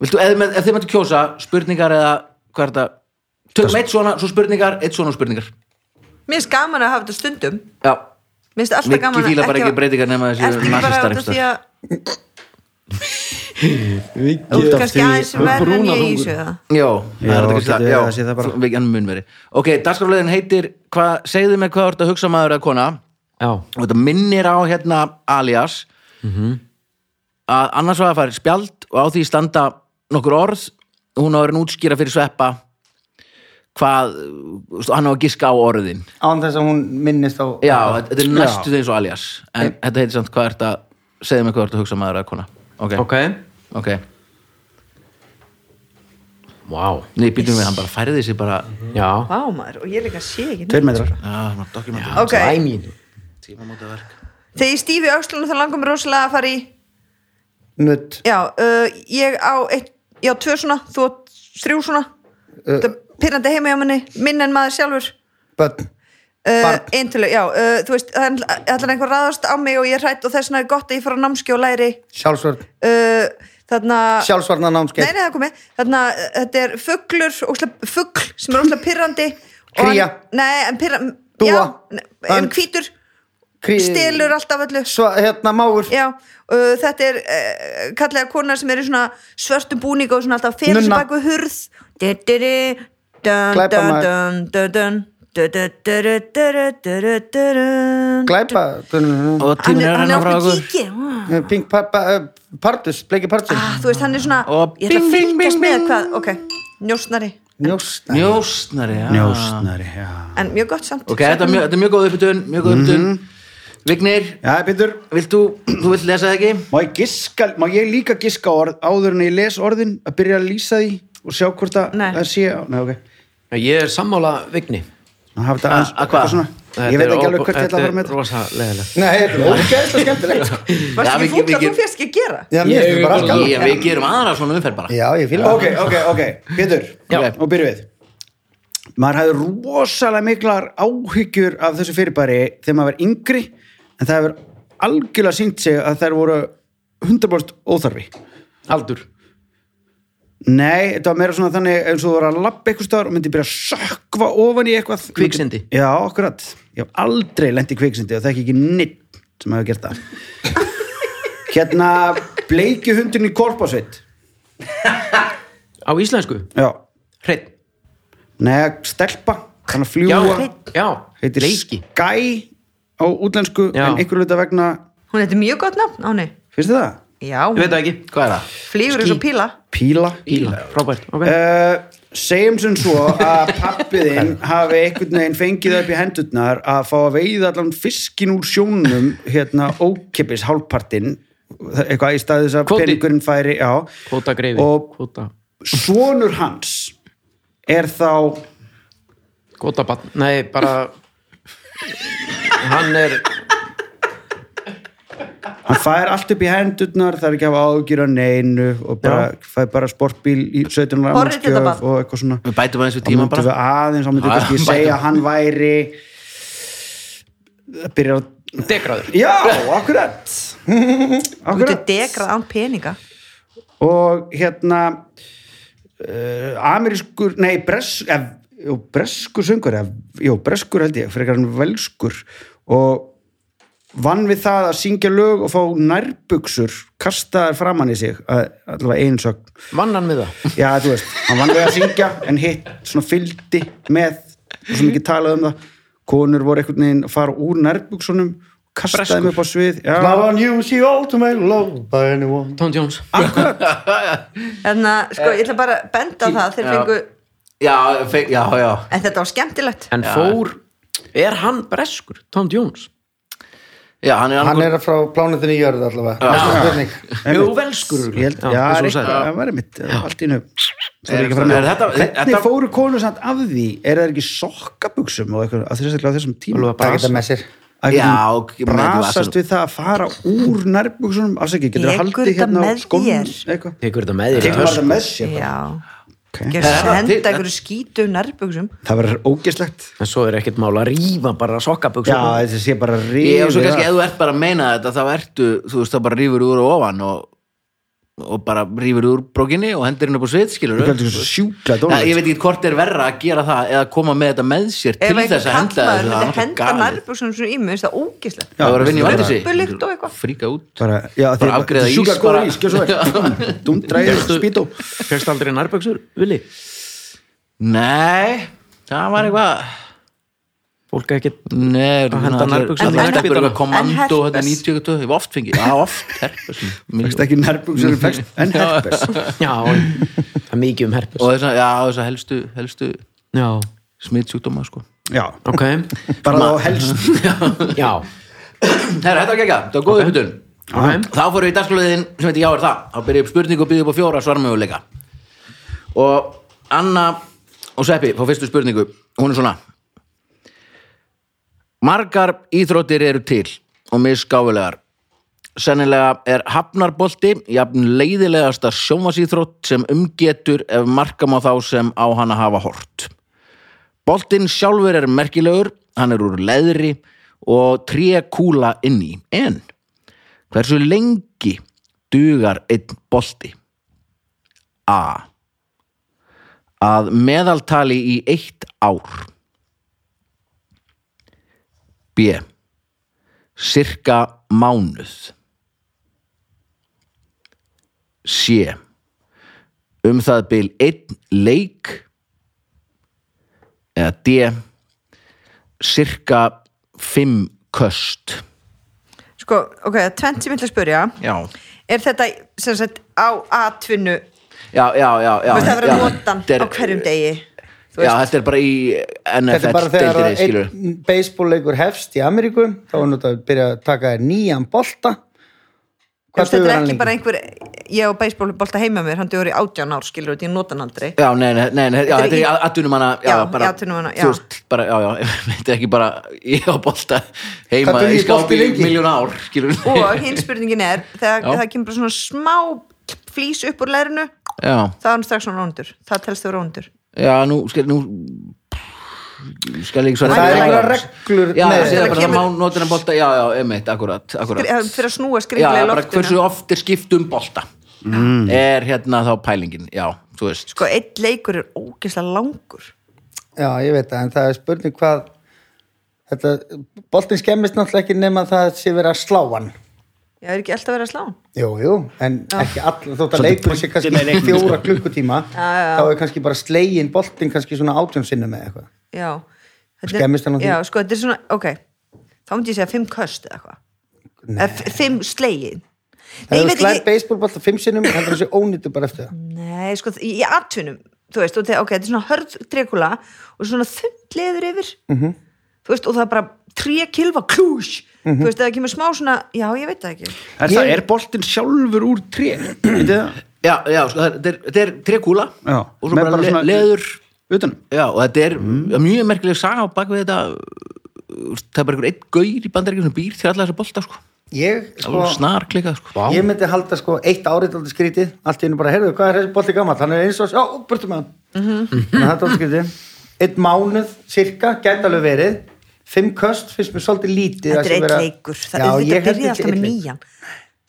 S1: Viltu, ef, með- ef þið mættu kjósa spurningar eða hvað er þetta Tökum eitt svona, svo spurningar, eitt svona og spurningar
S5: Mér finnst gaman að hafa þetta stundum.
S1: Já,
S5: Mér finnst alltaf gaman
S1: Mikki fíla bara ekki
S5: hafa-
S1: breytingar nema þessi
S5: Ertu ekki bara
S1: nasistar
S5: út af
S1: einhvers
S5: því að þú
S4: Út af
S5: kannski
S4: því-
S5: aðeins verður en ég í
S2: brúnaþungur.
S5: þessu eða?
S1: Já, það er
S4: Já,
S1: þetta kannski
S4: getur
S1: það,
S4: verið
S1: já,
S4: að sé það bara.
S1: við ennum mun veri Ok, dagskrálöðin heitir, hva, segðu mig hvað þú ert að hugsa maður eða kona
S2: já,
S1: og þetta minnir á hérna alias
S4: Mhm.
S1: að annars var það farið spjald og á því standa nokkur orð og hún á verið útskýra fyrir sveppa hvað, þú veist, hann á að giska á orðin
S3: Án þess að hún minnist á...
S1: já, þetta er næstu
S3: Já.
S1: því eins og alias en þetta heitir samt hvað er þetta segðu mig hvað er þetta hugsa maður að kona ok,
S2: ok
S1: ok,
S2: wow.
S1: nei, býtum við, hann bara færði sér bara
S2: já,
S5: Vá maður, og ég líka sé ekki neitt.
S4: Tveir metrar
S1: já, hann var dokumentið
S5: Ok,
S2: I mean
S1: tímamótaverk
S5: þegar ég stífi öxlunum þá langar mér rosalega að fara í
S3: Nutt.
S5: Já, uh, ég á eitt, ég á tvö svona, þú á þrjú svona
S4: Uh,
S5: Þetta er pyrrandi heima hjá manni, minn en maður sjálfur
S3: Bönn.
S5: uh,
S3: Barn.
S5: Eintölu, já, uh, þú veist það er- það ætlar einhver að ráðast á mig og ég er hrætt og þess vegna er gott að ég fara á námski og læri
S3: Sjálfsvörn.
S5: uh, Þarna
S3: Sjálfsvarna námskeið.
S5: Nei, nei, það komið Þarna, uh, þetta er fugglur, óslega, fuggl sem er óslega pyrrandi
S3: Kría.
S5: Nei, en pyrrandi
S3: Dúa.
S5: Já, ne- en
S3: Önd.
S5: hvítur
S3: Krí-
S5: stelur alltaf öllu
S3: Sva, hérna, máur
S5: Já, uh, þetta er uh, kallega konar sem er í svona svörtum búning og svona alltaf fyrir sem
S3: Nunna.
S5: baku hurð Dudurri, dun, dun,
S3: Glæpamaður.
S5: dun, dun, dun, dudurri, dudurri, dudurri, dun.
S3: glæpa
S1: og
S5: Hann
S1: tíminn
S5: er
S1: er
S5: hann
S1: hennar
S5: er
S1: frá
S5: alltaf
S1: okkur
S5: kíki
S3: Pink pa, pa, eh, Pardus, bleiki Pardus
S5: ah, Þú veist, hann er svona
S1: Og
S5: Ég ætla
S1: bing, bing,
S5: að
S1: bing,
S5: fylgjast með
S1: bing.
S5: hvað Ok, njósnari
S3: njósnari
S1: njósnari, já
S2: Ah.
S4: Njósnari, já.
S5: En mjög gott samt
S1: ok, þetta er mjög, þetta er mjög góð uppbytun mjög góð uppbytun Vignir,
S4: Já, Pétur,
S1: vilt þú, þú vilt lesa það ekki?
S4: má ég giska, má ég líka giska á orð, áður en ég les orðin, að byrja að lýsa því og sjá hvort að
S5: Nei.
S4: það sé, á- nei, ok.
S2: Ég er sammála vigni
S4: Að hafa þetta
S1: A-
S4: aðeins,
S1: að hvað?
S4: eitthvað svona.
S2: Ah, Þetta
S4: Ég veit
S2: er ó-
S4: ekki alveg hvert ég ætla að fara með
S2: Þetta er
S4: þetta.
S2: rosa leðilegt
S3: Nei, þetta er ógeðslega skemmtilegt sko.
S1: Já,
S5: Varst
S1: við-
S5: ekki fúll
S1: við-
S5: að þú fyrst ekki að gera
S3: Já, mér finnst þetta bara allt gaman.
S1: Ég, við gerum aðra svona umferð bara
S3: Já, ég fíla
S4: Ok, ok, ok, Pétur,
S2: Já.
S4: og byrjum við. Maður hafði rosalega miklar áhyggjur af þessu fyrirbæri þegar maður var yngri, en það hefur algjörlega sínt sig að þær voru 100% óþarfi.
S2: Aldur
S4: Nei, þetta var meira svona þannig eins og þú var að labba eitthvað staðar og myndi byrja að sökva ofan í eitthvað
S2: Kviksyndi.
S4: Já, akkurat Ég hef aldrei lent í kviksindi og það er ekki neitt sem hefur gert
S2: (laughs)
S4: það Hérna, bleiki hundurinn í korpásveit
S2: Á íslensku,
S4: Já,
S2: hreitt
S4: neða, stelpa Þannig að
S2: Já,
S4: fljúa
S2: já,
S4: Heitir
S2: leiki
S4: Sky á útlensku
S2: Já.
S4: en einhver hluta vegna,
S5: Hún, þetta er mjög gott nafn, áni
S4: finnst þið það?
S5: Já,
S2: Ég veit það ekki
S1: Hvað er það?
S5: flýgur eins og píla
S4: Píla
S2: Píla, frábært, ok
S4: Uh, segjum sem svo að
S1: (laughs)
S4: pappiðinn hafi einhvern veginn fengið upp í hendurnar að fá að veiða allan fiskin úr sjónum hérna ókipis hálfpartinn eitthvað í staði þess að
S2: Kvóti.
S4: peningurinn færi já.
S2: Kvóta greifi
S4: og
S2: Kvóta,
S4: svonur hans er þá
S2: kvóta batn Nei, bara Hann er
S4: hann fær allt upp í hendurnar það er ekki að hafa ágjur að neinu og bara, fær bara sportbíl í 17 ára
S5: Horrið þetta
S4: afmælisgjöf
S5: barn.
S4: og eitthvað svona
S1: Við bætum aðeins við
S4: þá
S1: tíman
S4: myndum við
S1: bara
S4: aðeins, þá
S1: Já,
S4: myndum við kannski
S1: bætum.
S4: segja að hann væri það byrjar að
S2: degraður
S4: Já, akkurat (laughs)
S5: Þú ert
S4: Akkurat
S5: degrað án peninga
S4: Og hérna uh, Amerískur, nei, bresk eh, jú, breskur söngur eh, Jó, breskur held ég, frekar hann velskur og vann við það að syngja lög og fá nærbuxur kastaðar framann í sig að- allavega einsögn
S2: Vann hann við það
S4: Já, þú veist, hann vann við að syngja en hitt svona fylgdi með og svo mikið talað um það konur voru einhvern veginn að fara úr nærbuxunum kastaði
S2: Breskur.
S4: mig upp á svið Já,
S3: Now I knew she ultimately loved by anyone
S2: Tom Jones
S5: Þannig að, sko, ég ætla bara að benda á það Þeir
S1: Já.
S5: fengu,
S1: Já, fe- já, já
S5: en þetta var skemmtilegt
S2: En fór, er hann breskur? Tom Jones
S1: Já, hann er
S3: Hann
S1: annað
S3: er frá plánetinni jörð allavega Það er svona spurning
S2: Jú, velskur
S4: ég held, já,
S2: já, eins og þú
S4: eitthvað,
S2: sagðir.
S4: það var einmitt allt í nú
S1: Er- er þetta-
S4: hvernig
S1: þetta-
S4: fóru konur samt af því er það ekki sokkabuxum og eitthvað að þess að á þessum tíma
S2: Alveg bara-
S3: Það geta með sér
S4: Að
S1: Já,
S4: einhvern
S1: ok, maður
S4: veginn
S1: ekki
S4: brasast
S1: vasalú-
S4: við það að fara úr nærbuxunum alls ekki, getur
S5: Tekur
S4: það haldið
S5: þetta
S4: hérna á
S5: með
S4: skónum
S5: þér?
S4: eitthvað,
S2: Tekur þetta með þér í
S4: tekur
S2: tösku?
S4: það með sér bara.
S5: Já,
S4: Ok.
S1: Það er
S5: ekki að
S1: það,
S5: senda
S1: þið-
S5: einhverju skítu nærbuxum
S4: það verður ógeslegt
S2: En svo er ekkert mál að rífa bara
S4: já,
S2: sokkabuxum
S4: þessi sé bara
S1: Ég hef
S4: rífið
S1: svo kannski,
S4: af.
S1: ef þú ert bara að meina þetta þá ertu, þú veist, þá bara rífur úr og ofan og, og bara rífur úr brókinni og hendir henni upp á svið, skilur
S4: Þú kallar þetta svo sjúkla
S1: Já, ég
S4: dónalegt
S1: veit ekki hvort er verra að gera það eða koma með þetta með sér til
S5: Ef einhver
S1: þess að henda þessu
S5: kallmaður
S1: það er
S5: myndi
S1: náttúrulega
S5: henda
S1: galið.
S5: nærbuxum sem í mig, veist það ógislegt
S1: Það var að vinna í vandi sig
S5: Bullegt og eitthvað.
S1: Fríka út
S4: bara, já,
S1: Bara afgreiða ís,
S4: sjúkla góður
S1: bara-
S4: ís, gjör svo vel dum, dræður, spýtó
S2: Fyrst aldrei nærbuxur, Vili
S1: Nei, það var eitthvað
S2: Fólk er ekkert
S1: Nei,
S2: Að henda nærbuxum
S5: á
S1: Það er
S2: nærbuxum.
S1: bara kommando
S5: En
S1: hérna
S5: herpes.
S1: 90 og ég var oft fengið Já, oft, herpes
S4: fækst ekki nærbuxur, fækst en herpes
S2: Já, það er mikið um herpes
S1: Og þess að, já, þess að helstu, helstu
S2: Já,
S1: smittsjúkdóma, sko
S4: já,
S2: ok
S4: bara þá helst
S2: Já,
S1: Herra, þetta var gegga, þetta var góð okay.
S2: ok
S1: Þá fórum við í dagskóliðin sem heitir Já er það Þá byrja ég upp spurningu og býði upp á fjóra svarmöguleika Og Anna og Sveppi fá fyrstu spurningu Hún er svona Margar íþróttir eru til og misgáfulegar Sennilega er hafnarbolti jafn leiðilegasta sjómasíþrótt sem umgetur ef marka má þá sem á hana hafa hort. Boltinn sjálfur er merkilegur, hann er úr leðri og tré kúla inn í. En Hversu lengi dugar einn bolti? A. Að meðaltali í eitt ár. B. cirka mánuð sé um það bil einn leik eða D cirka fimm köst
S5: Sko, ok, það er tvennt sem ég ætla að spyrja
S1: já,
S5: Er þetta sem sagt á atvinnu
S1: já, já, já, já
S5: Þú veist það verður
S1: já,
S5: notan
S1: þetta er-
S5: á hverjum degi Þú
S1: já,
S5: veist,
S1: þetta er bara í
S3: Þetta er bara þegar
S1: NFL-deildinni,
S3: að
S1: skilur
S3: einn baseballleikur hefst í Ameríku þá er náttúrulega að byrja að taka þér nýjan bolta
S5: þú
S3: dugar
S5: veist, þetta er
S3: hann
S5: ekki
S3: lengi?
S5: bara einhver Ég og beisbólbolta heima mér, hann dugur í átján ár skilur út, ég nota hann aldrei
S1: Já, nei, nei, nei, nei já,
S5: Þetta er
S1: þetta er í
S5: í-
S1: atvinnumanna
S5: Já,
S1: bara,
S5: í atvinnumanna, já.
S1: Þú veist, bara, já, já, (laughs) þetta er ekki bara ég á bolta heima
S3: Hvað dugir
S1: í
S3: bolti
S1: skápi í
S3: lengi?
S1: miljón ár, skilur
S5: Og hinn spurningin er, þegar
S1: Já.
S5: það kemur bara svona smá flýs upp úr lærinu
S1: Já,
S5: þá er hann strax svona róndur, það telst þau róndur
S1: já, nú, skil, nú skal ég ekki svara
S3: Það er
S1: fyrir
S3: einhverjar
S1: það.
S3: reglur
S1: Já,
S3: með-
S1: það er
S5: Þetta
S1: bara
S5: kemur-
S1: má notina bolta, já, já, emitt, akkurat, akkurat
S5: fyrir að snúa
S1: Já,
S5: skriflega í
S1: bara hversu
S5: loftinu
S1: oft er skipt um bolta
S3: Mm.
S1: er hérna þá pælingin já, þú veist
S5: Sko, einn leikur er ógeðslega langur
S3: Já, ég veit það, en það er spurning hvað þetta, boltin skemmist náttúrulega ekki nema það sé verið að slá hann
S5: Já, er ekki alltaf verið að slá hann?
S3: Jú, jú, en ekki all þótt að
S4: Svolítið
S3: leikur sé
S4: punkti með
S3: kannski
S4: leiknum,
S3: fjóra klukkutíma
S5: já.
S3: þá er kannski bara slegin boltin kannski svona átjónsinnum eða eitthvað
S5: Já Þetta er-
S3: Skemmist hann á því?
S5: Já, sko, þetta er svona, ok Þá myndi ég segja fimm köst eða eitthvað Eða f- Fimm slegin Nei,
S3: Það
S5: ég
S3: er
S5: veit
S3: slæð
S5: ekki
S3: baseballbolta fimm sinnum heldur þessi ónýttu bara eftir það
S5: Nei, sko, í í atvinnum Þú veist, og þetta- ok, þetta er svona hörð trekula og svona þund leður yfir
S3: Mhm.
S5: -hmm. Þú veist, og það er bara tré kilva klús
S3: Mhm.
S5: Þú veist, það kemur smá svona Já, ég veit það ekki
S4: Er, það, er boltin sjálfur úr tré? Vitið það?
S1: já, já, sko, það er- þetta er- þetta er trekúla
S4: Já,
S1: og svo
S4: með
S1: bara,
S4: bara
S1: le,
S4: svona- Mm.
S1: leður
S4: Utanum.
S1: já, og þetta er mjög merkileg saga á bak við þetta uh, það er bara einhver einn gaur í bandaríkjum sem býr til alla þessa bolta sko.
S3: Ég, sko,
S1: snar klika sko.
S3: ég myndi halda sko eitt árið aldrei skrítið, allt í hennu bara, heyrðu, hvað er þessi bolti gammal, hann er eins og, já, burtu með hann
S5: Mhm.
S3: þannig að þetta er aldrei skrítið eitt mánuð, cirka, gæti alveg verið fimm köst, finnst mér svolítið lítið að
S5: Þetta er
S3: sé
S5: einn
S3: verið að-
S5: leikur, það er
S3: ég
S5: þetta
S3: held
S5: byrja
S3: ekki
S5: alltaf með
S3: einn leik.
S5: nýjan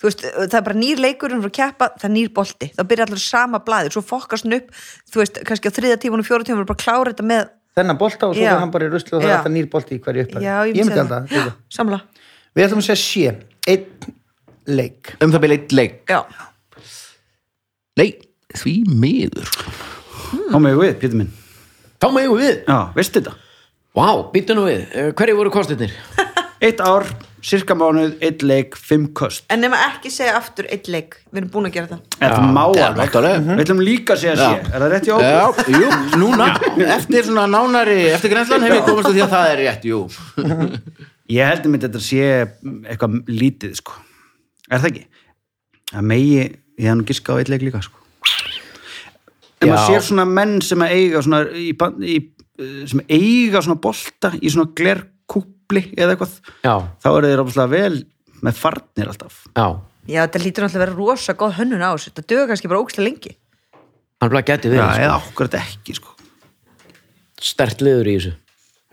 S5: Þú veist, það er bara nýr leikur en frá keppa, það er nýr bolti, það byrja allir á sama blaði, svo fokkast hann upp þú veist, kannski á þriða tíman og fjóra tíman bara klára þetta með,
S3: þennan bolta og svo
S5: Já.
S3: er hann bara í rusli og það er
S5: Já.
S3: alltaf nýr bolti í hverju upphafi
S5: já,
S3: ég myndi halda
S5: Já,
S3: það sko.
S5: samla,
S3: við ætlum að segja sé, einn leik
S1: um það byrja eitt leik
S5: já
S1: nei, því miður sko.
S4: Þá með við, Pétur minn.
S2: Þá megum við.
S4: Já, veistu þetta?
S2: Vá, býttu nú við. Eh, Hverju voru kostirnir?
S4: Eitt ár, cirka mánuð, eitt leik, fimm köst.
S5: en nema ekki segja aftur einn leik, við erum búin að gera það
S4: Þetta má
S1: Já,
S4: alveg.
S1: náttúrulega.
S4: Við ætlum líka að segja sé. Er það rétt í
S1: Já,
S4: okkur?
S1: jú, núna, eftir svona nánari eftir grænslan hef ég komast að því að það er rétt, jú
S4: Ég heldur mér þetta sé eitthvað lítið, sko. Er það ekki? Það megi, ég hann giska á eitt leik líka, sko. En
S2: Já.
S4: maður sér svona menn sem að eiga svona, í, ban- í, eh, sem eiga svona bolta í svona glerkúpli eða eitthvað,
S2: Já,
S4: þá eru þeir ofslega vel með farnir alltaf.
S2: já.
S5: Já, þetta lítur náttúrulega að vera rosa góð hönnun á þessu þetta dögur kannski bara ógstlega lengi
S2: Hann bara gæti
S4: Já,
S2: verið,
S4: eða okkur ekki, sko.
S2: sko. Stert liður í þessu.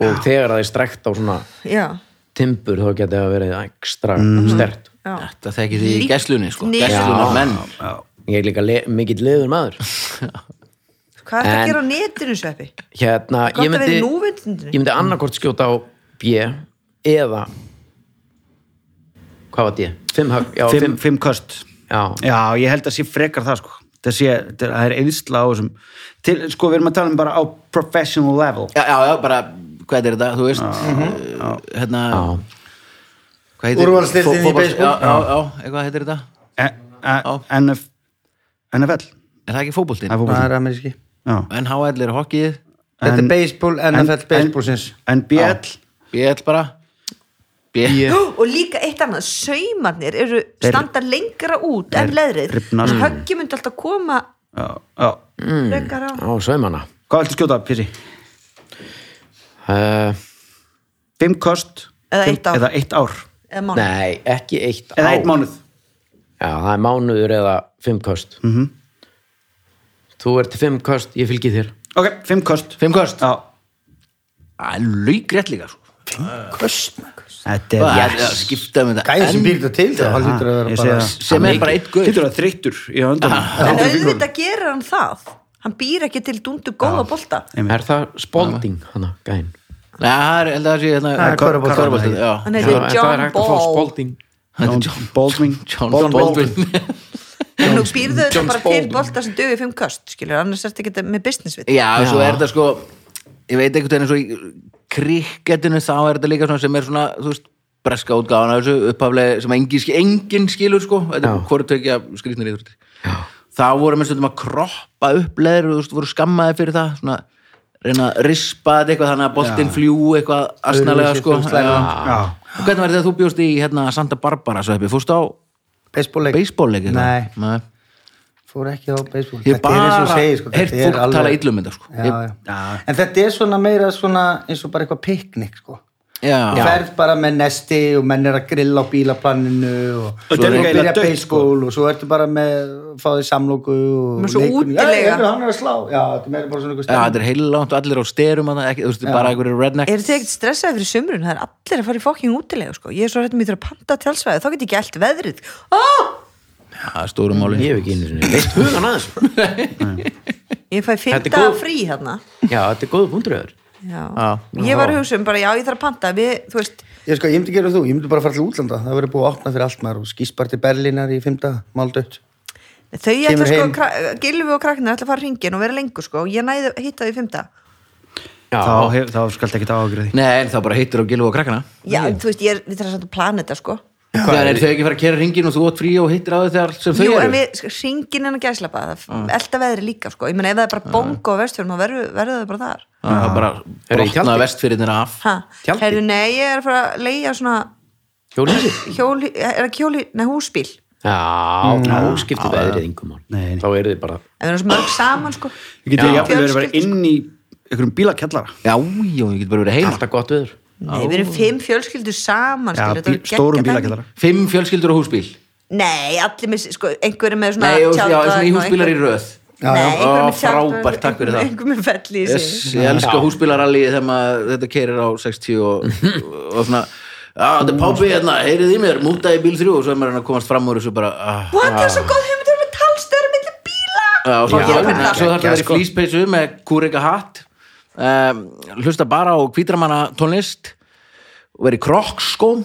S2: Og þegar það er strekt á svona
S5: Já,
S2: timbur, þá gæti það verið ekstra stert.
S5: já,
S1: Þetta þekki því í
S5: Líkt
S1: gæslunni, sko
S5: niður.
S1: Gæslunar menn
S2: Ég er líka le mikill liður maður.
S5: hvað er það
S2: En-
S5: að gera á netinu, Sveppi?
S2: Hérna,
S5: Gott
S2: ég
S5: að vera
S2: myndi,
S5: í núvitundinu.
S2: ég myndi annarkort skjóta á B eða hvað var D? Fimm högg, já,
S4: Fimm,
S2: fimm,
S4: fimm köst.
S2: já,
S4: Já, ég held að sé frekar það sko það, sé, það er eðsla á þessum til, sko, við erum að tala um bara á professional level
S1: Já, já, já, bara, hvað er þetta, þú veist uh, hérna
S2: já.
S1: hvað heitir- fó-
S3: Úrvalsdeildin í
S1: fótbolta-
S3: baseball.
S1: Já, já, já, eitthvað heitir þetta
S4: e, e, NF, NFL
S1: Er það ekki fótboltinn?
S4: það er
S3: það
S4: fótbolti.
S3: er ameríski
S4: Já.
S1: NHL er hockeyið,
S3: þetta
S4: En-
S3: er baseball,
S4: en-
S3: NFL baseballsins
S4: NBL
S1: BL bara BL,
S5: Ó, og líka eitt annað, saumarnir eru standa lengra út en
S4: þeir
S5: leðrið
S4: rifna,
S5: en
S4: sko.
S5: höggi myndi alltaf koma
S4: Já, já.
S5: frekar á
S2: á sveimana
S4: Hvað viltu skjóta, Písi?
S2: uh,
S4: Fimm köst
S5: Eða
S4: fimm-
S5: eitt ár.
S4: eða eitt ár
S5: eða mánu
S2: nei, ekki eitt
S4: eða
S2: ár.
S4: eitt mánuð
S2: já, það er mánuður eða fimm köst mm -hmm.
S4: Mhm.
S2: þú ert fimm köst, ég fylgi þér
S4: ok, fimm köst
S1: fimm kost
S4: Já.
S1: Laugrætt líka svo
S4: þetta
S1: Það
S4: er
S1: er að skipta um þetta
S3: gæði sem
S1: En-
S3: býr þetta til það haldur að
S4: ég
S3: vera
S4: segi
S3: bara
S4: það.
S1: Sem er bara einn gaur
S4: Þetta er þreyttur í höndunum
S5: en auðvitað gerir hann það hann býr ekki til dundu góða bolta
S2: er það spólding hana, gæn
S1: Nei, það er, held að það sé hérna
S3: Það er körfubolti.
S1: körfubolti, já.
S2: Já,
S5: Hann heitir
S2: en það er hægt
S5: John
S2: að fá
S5: Ball
S2: Spalding
S1: John-
S4: John Baldwin
S1: John Baldwin
S5: En nú býrðu þetta
S2: John
S5: bara til
S2: Spalding.
S5: bolta sem dögu í fimm köst skilur, annars er þetta ekki með business við
S1: Já, svo
S2: Já.
S1: er þetta sko ég veit einhvern veginn eins og í kriketinu þá er þetta líka svona sem er svona þú veist, breska útgáðan af þessu upphaflega sem engin, engin skilur sko þetta er
S2: Já.
S1: hvort tökja skrýtnir íþróttir þá voru með stundum að kroppa upp leður og þú veist, voru skammaði fyrir það svona reyna að rispa þetta eitthvað þannig að boltinn fljú eitthvað asnalega
S3: Öðruvísi
S1: sko
S3: flugslæða.
S1: Já.
S4: Já.
S1: Og hvernig var þetta að þú bjóst í hérna Santa Barbara svo hefði, fórstu á
S3: Baseballleik.
S1: beisbólleik
S3: Nei.
S1: Nei.
S3: fór ekki á baseball
S1: Ég
S3: er eins og
S1: bara
S3: segir sko,
S1: heyrt
S3: þetta er
S1: fólk
S3: alveg-
S1: tala illa um þetta, sko.
S3: já,
S1: Ég-
S3: já. en þetta er svona meira svona eins og bara eitthvað piknik sko.
S1: Já,
S3: ferð bara með nesti og menn er að grilla á bílaplaninu og,
S4: Og þetta er líka
S1: sko.
S3: byrja
S4: eiginlega dautt,
S3: beiskól og svo ertu bara með fáðið samlóku og
S5: Með svo
S3: leikfimi.
S5: útilega.
S3: já, heyrðu, hann er að slá já, þetta er meira bara svona eitthvað
S1: Já, þetta er heilangt og allir á styrum að það, ekki, þú veist, bara einhverju redneck
S5: Er þið ekkert stressaði fyrir sumrun? Það er allir að fara í fokking útilega sko. Ég er svo hættum ég þurf að panta tjálsvæði þá get ég ekki allt veðrið ah!
S1: Já, stóru máli
S2: Ég hef ekki einu sinni Veist hugan aðeins
S5: Ég fæ fimm
S2: Þetta er
S5: daga
S2: góð-
S5: frí hérna
S2: Já, þetta er góða búndröður
S5: Já.
S2: Já.
S5: Ég var að hugsa um bara, já ég þarf að panta við, Þú veist,
S3: ég sko, ég myndi gera þú, ég myndi bara fara til útlanda það verður búið að opna fyrir allt maður og skýst bara til Berlínar í fimmta, máldutt
S5: þau ætla
S3: Kemur
S5: sko
S3: heim.
S5: kra- Gylfi og krakkina ætla að fara hringin og vera lengur sko og ég næði hitta þau í fimmta
S2: Já,
S4: þá, hef, þá skalt ekki það ágriði
S1: Nei, en það bara heitir á gilvu og krakkana
S5: Já, þú veist, ég er, við þarfum samt að plana þetta sko
S1: Þannig er þau ekki fara að kera ringin og þú átt frí og heitir á þau þegar sem þau
S5: Jú, en
S1: eru Ah.
S5: við, sko, hringin en að gæslapa það elda veðri líka sko, ég meina ef það er bara bongo og vestfjörn, þá verður verður þau bara þar
S1: Það er bara
S2: Eru í
S1: brotnaða
S2: tjaldi?
S1: vestfyrirnir af
S5: Ha,
S2: Tjaldi?
S5: herðu, nei, ég er að fara að leigja svona
S2: hjólísi
S5: hjóli, er það kjóli, nei, húsbíl en
S2: Já, þá skiptir veðrið yngum mál
S4: Nei, nei.
S2: Þá eru þið bara
S5: við erum svo mörg saman sko
S4: Ég geti
S5: Já.
S4: jafnvel verið að vera
S5: Fjölskyldu,
S4: inn í einhverjum bílakjallara
S1: Já, já, ég get bara verið heima
S2: Alltaf gott veður
S5: Nei, við erum fimm fjölskyldur saman
S4: Já,
S5: skilur, þetta
S4: bí,
S5: verður
S4: stórum
S5: geggjað dæmi.
S4: bílakjallara
S1: Fimm fjölskyldur og húsbíl
S5: Nei, allir með, sko, einhverjum með svona
S1: Nei, og, já,
S5: tjaldvagn
S1: svona í
S5: og
S1: húsbílar í
S5: einhver-
S1: röð
S5: Nei, einhverjum
S1: Ó,
S5: með tjaldvagn,
S1: Frábært, takk fyrir það
S5: Einhverjum með felli í
S1: yes,
S5: sig
S1: Ég elska húsbílarallið þegar maður þetta kerir á 60 og, og svona Já, þetta er pápi hérna, heyrið í mér, múta í bíl þrjú og svo er maður hérna að komast fram úr þessu bara ah,
S5: What, það er svo góð hugmynd, við erum með talstöður milli bíla
S1: Já, og svo
S5: Já,
S1: þarf það
S5: ég verð
S1: svo
S5: það.
S1: þarf það að vera í flýspeysu með kúrika hatt um, hlusta bara á hvítramanna tónlist og vera í sko. krokkskóm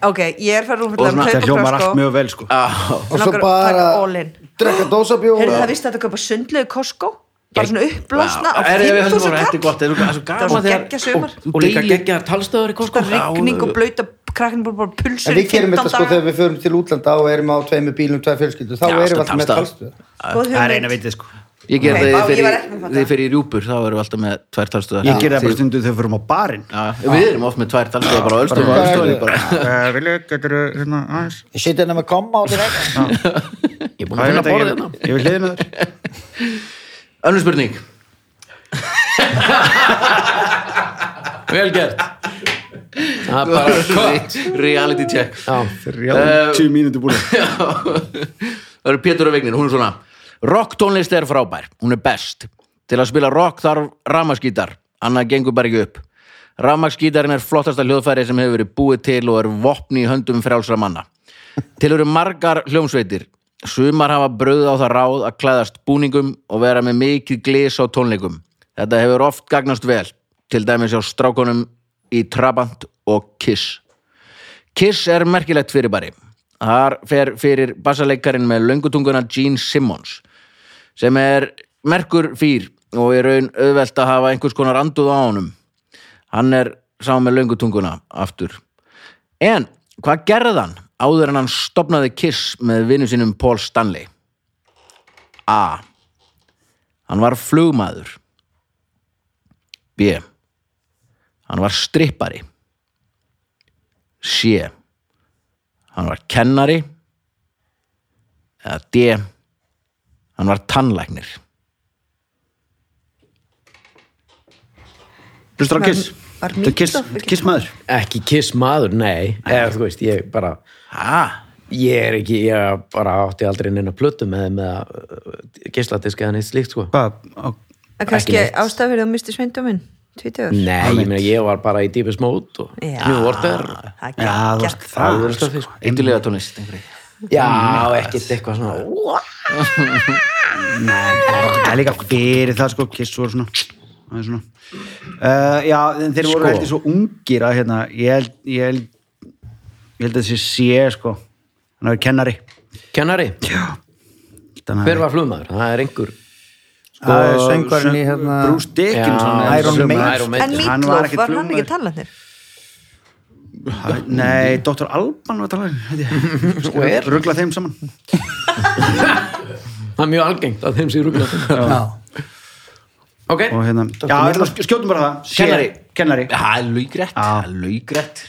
S5: Ok, ég er farið
S1: Og
S5: rúfullega
S1: svona,
S5: að
S4: Það
S5: kaupa
S4: hljómar
S5: Costco.
S4: allt mjög vel sko
S1: Já,
S3: og svo
S5: Langar að
S3: bara
S5: taka all in.
S3: drekka dósabjóð
S5: Heyrðu það vist að þetta kaupa sundlegu Costco bara svona upplosna á
S1: er- er- þetta
S5: 5.000
S1: var- þetta er gott,
S5: kall
S1: þetta er svo- það er svo
S5: Það var
S1: gaman
S5: svo
S1: þegar-
S5: geggja sumar
S1: Þú
S2: Og líka
S1: deilir-
S2: geggjaðar talstöður í Costco
S1: Sko,
S5: Það er rigning og blauta krakkinn bara bara pulsur
S3: En við
S5: í
S3: gerum
S5: 15
S3: þetta sko
S5: daga. sko,
S3: þegar við förum til útlanda og erum á tveimu bílum, tvei fjölskyldu, þá
S1: Já,
S3: erum við
S1: alltaf
S3: alltaf með
S1: talstöð.
S3: talstöð.
S5: Góð
S4: Það er eina
S5: hugmynd
S4: vitið sko
S1: ég ger
S5: Ok,
S1: það
S5: vá,
S1: þegar ég fer
S5: ég var ekki með
S1: í-
S5: þetta.
S1: þegar ég fer í rjúpur þá erum við alltaf með tvær talstöðar
S4: Ég gerði það bara
S1: Þið-
S4: stundu þegar við fyrir á barinn
S1: Já, Við erum oft með tvær talstöðar bara á ölstöðum og
S3: bara-
S1: ölstöðum
S4: (laughs)
S1: bara
S4: Eh, Vilja, getur þú hérna aðeins
S3: Ég seti henni með koma á því vegna.
S2: Ég er búin
S4: Það
S2: að
S4: er
S2: finna
S4: þetta
S2: borðið
S4: ekki,
S2: hérna
S4: ég vil hliðina þér
S1: Önnur spurning
S2: Vel gert Það er bara gott
S1: Reality check
S2: Já,
S4: 30 mínútur búin
S1: (laughs) það eru Pétur og Vignir, hún er svona rock tónlist er frábær, hún er best til að spila rock þarf ramaskítar annað gengur bara ekki upp ramaskítarinn er flottasta hljóðfæri sem hefur verið búið til og er vopni í höndum frjálsra manna til eru margar hljómsveitir sumar hafa bröð á það ráð að klæðast búningum og vera með mikið glés á tónleikum þetta hefur oft gagnast vel til dæmis á strákonum í Trabant og Kiss Kiss er merkilegt fyrirbæri. Þar fer fyrir bassaleikarin með löngutunguna Gene Simmons sem er merkur fýr og er raun auðvelt að hafa einhvers konar anduð á honum. Hann er sá með löngutunguna aftur. En hvað gerði hann áður en hann stopnaði Kiss með vinnu sínum Paul Stanley? A. Hann var flugmaður. B. Hann var strippari. C hann var kennari eða D hann var tannlæknir
S4: Hlustur á kiss
S5: Var
S4: Þetta er Kiss,
S5: mikið of-
S4: kiss maður
S2: ekki kiss maður, hérna. nei Eða, þú veist, ég bara
S4: Ah,
S1: ha,
S2: ég er ekki, ég bara átti aldrei neina plötu með, með geisladisk eða neitt slíkt sko
S4: Hvað, á-
S5: Það er kannski
S2: Ekki neitt.
S5: ástæð fyrir að misti sveindóminn Tvítugur
S2: Nei, ég meina, ég var bara í dýpis mót og
S5: Já.
S2: njú orðar
S5: Það
S4: Já,
S5: er geggjað.
S4: þú veist, það
S2: Alvöru
S4: er
S2: stöfi,
S4: sko
S2: sko.
S1: eitthulega tónlist einhverju.
S2: Já, ekkert eitthvað svona "Ó,
S4: Nei, það er líka fyrir það sko Kiss voru svona það er svona uh, já, en þeir voru
S2: Sko.
S4: heldur svo ungir að hérna, ég held ég held, ég held að þessi sé sko, hann er kennari
S2: Kennari, hver
S4: hver
S2: var flugmaður? Það er einhver
S3: Það er sko söngvarinn í hérna
S4: Sko, Bruce
S2: Já,
S4: Dickinson eða
S3: Iron
S4: sem- sko.
S3: Maiden.
S2: Iron
S5: En
S2: Maiden.
S4: Hann var
S5: Mítlóf,
S4: ekkit
S5: var hann
S4: flugmaður.
S5: ekki talarnir?
S4: Nei, Dr. Alban var um, talað Ruggla þeim saman
S2: Það er mjög algengt að þeim sé rúgla
S3: Já.
S2: Ok,
S4: og hérna, já, ég ætla að sk- skjótum bara það Sé-
S1: Kennari.
S4: Kennari
S1: Það er laugrætt,
S4: Ah.
S1: það er laugrætt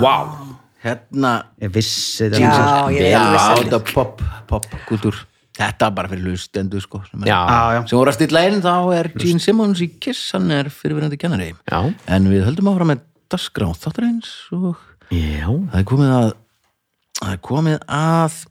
S1: Vá, hérna
S4: Ég vissi
S5: Já,
S4: þetta
S1: Já,
S5: ég er alveg
S1: þetta
S5: sætt
S1: er pop, pop kultúr Þetta er bara fyrir hlustendu sko sem, er,
S2: já,
S4: Já, Ah, já.
S1: sem voru að stilla inn þá er Gene Simmons í Kiss, hann er fyrirverandi kennari
S2: já
S1: En við höldum áfram með Dasgrá þáttur eins og
S2: Já,
S1: það er komið að það er komið að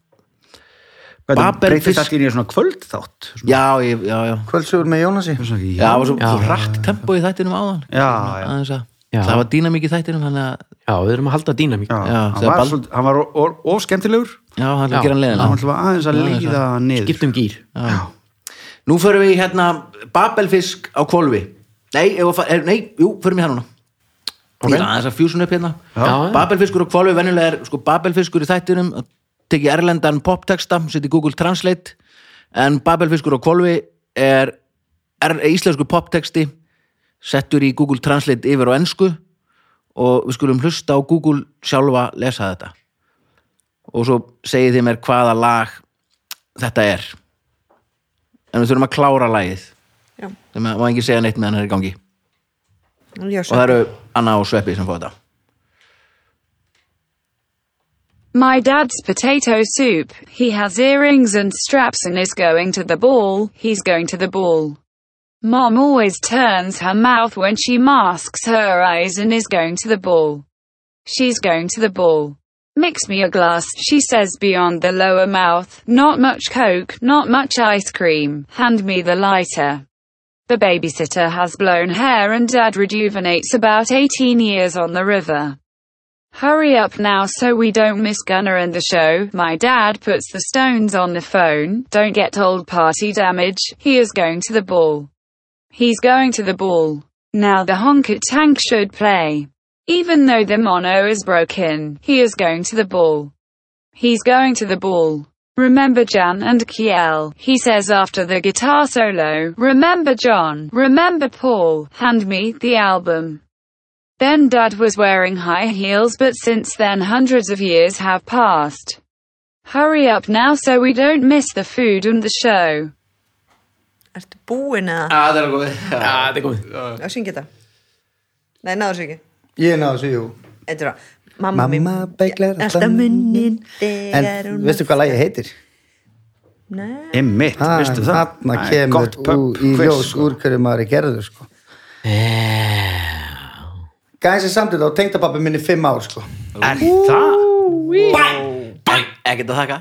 S4: Hvað þetta
S1: Babel
S4: breytist
S1: fisk-
S4: allt í nýja svona kvöld þátt
S1: já, ég, já, já
S3: Kvöldsögur með Jónasi
S1: Já, það var svo
S2: Já.
S1: svo rætt tempo í þættinum áðan
S4: Já, já.
S1: Aðeins að,
S2: Já.
S1: Það var dýna mikið í þættinum þannig að
S2: já, við erum að halda dýnamík
S4: Já,
S1: Já,
S4: hann
S1: þegar
S4: var,
S1: Bal-
S4: svolítið, hann var of- of of skemmtilegur
S1: Já, hann er
S2: Já.
S1: að gera hann leiðin
S4: hann var aðeins að leiða hann niður
S2: Skiptum gýr
S1: Nú förum við í hérna Babelfisk á kvolfi Nei, ef að fa- er, nei jú, förum við hérna núna
S2: Ok.
S1: Ég er aðeins að fjúsun upp hérna
S2: Já.
S1: Babelfiskur á kvolfi, venjulega er sko, Babelfiskur í þættinum tekið erlendan poptexta, setji Google Translate en Babelfiskur á kvolfi er, er íslensku poptexti settur í Google Translate yfir á ensku og við skulum hlusta á Google sjálfa lesa þetta og svo segið þið mér hvaða lag þetta er en við þurfum að klára lagið
S5: Já.
S1: það má ekki segja neitt meðan það er í gangi
S5: Já,
S1: og það eru Anna og Sveppi sem fá þetta
S6: My dad's potato soup. He has earrings and straps and is going to the ball. He's going to the ball. Mom always turns her mouth when she masks her eyes and is going to the ball. She's going to the ball. Mix me a glass, she says beyond the lower mouth. Not much coke, not much ice cream. Hand me the lighter. The babysitter has blown hair and dad rejuvenates about 18 years on the river. Hurry up now so we don't miss Gunner and the show. My dad puts the stones on the phone. Don't get old party damage. He is going to the ball. He's going to the ball. Now the honker tank should play. Even though the mono is broken, he is going to the ball. He's going to the ball. Remember Jan and Kiel, he says after the guitar solo. Remember John, remember Paul, hand me the album. Then dad was wearing high heels but since then hundreds of years have passed. Hurry up now so we don't miss the food and the show.
S5: Ertu búin að
S1: Það er alveg
S2: Já, þetta er komið
S5: að syngja þetta? Nei, náður sér ekki
S3: Ég náðu þessu, jú
S5: Þetta er að Mamma,
S3: Mamma beiglar
S5: Alltaf munnin Þegar
S3: En
S5: hún
S3: veistu hvað lagið heitir?
S5: Nei,
S4: Einmitt,
S3: Ha,
S4: veistu það?
S3: Þarna
S4: Æ,
S3: kemur
S4: gott
S3: ú,
S4: pub
S3: í
S4: quiz,
S3: ljós
S4: sko.
S3: úr hverju maður er gerður sko. Gæðin sem samtidig á tengdapappi minni í fimm ár sko.
S4: Er það?
S1: ekkert að þakka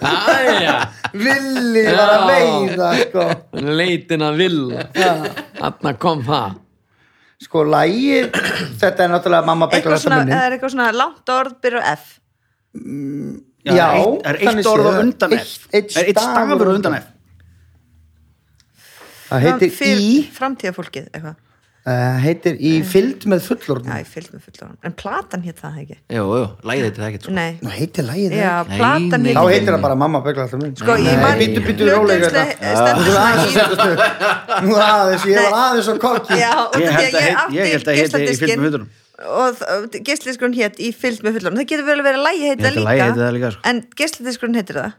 S2: Æja,
S3: Villi var að
S2: Já.
S3: veiða sko.
S2: leitin að vil Þarna kom það
S3: sko lagið Þetta er náttúrulega mamma beiglar
S5: eitthvað
S3: alltaf
S5: svona, eh,
S3: munni
S5: það er eitthvað svona langt orð byrja á F
S4: Já,
S3: Já,
S4: eitt- er
S3: þannig
S4: eitt orð á
S3: séð.
S4: undan F
S3: Eitt- eitt
S4: er
S3: stafur
S4: eitt
S3: á
S4: stafur á
S3: undan
S4: undan F
S3: Það heitir
S5: Fyr-
S3: í
S5: Framtíðarfólkið, eitthvað
S3: uh, heitir í
S5: Eh.
S3: fylgd með
S5: Já,
S3: fullorðnum
S5: ég fylgd með fullorðan En platan hétt það ekki
S1: Jú, jú, lægið þetta ekkert sko.
S5: Nei,
S3: Nú heitir lagið það
S5: já,
S1: Nei,
S5: platan
S1: nei.
S3: Þá
S5: hétt
S3: heitir það bara mamma beiglar alltaf munni
S5: Sko, ég man-
S3: Býtu, býtu, rólega
S5: Plötuumslagið stendur
S3: hérna. Nú
S5: svona
S3: aðeins að setjast upp. Nú aðeins,
S5: í-
S3: ég var
S5: Nei.
S3: aðeins á kokki
S5: Já, út af
S4: Ég
S5: því
S4: held
S5: að
S4: að
S5: ég
S4: heit-
S5: átti
S4: ég held að heiti Í fylgd með
S5: geisladiskinn
S4: fullorðnum.
S5: og og geisladiskurinn hétt í fylgd með fullorðan það getur vel að vera lægi
S4: Ég
S5: heita
S4: held að lagið heiti það líka,
S5: líka
S4: sko.
S5: en geisladiskurinn heitir það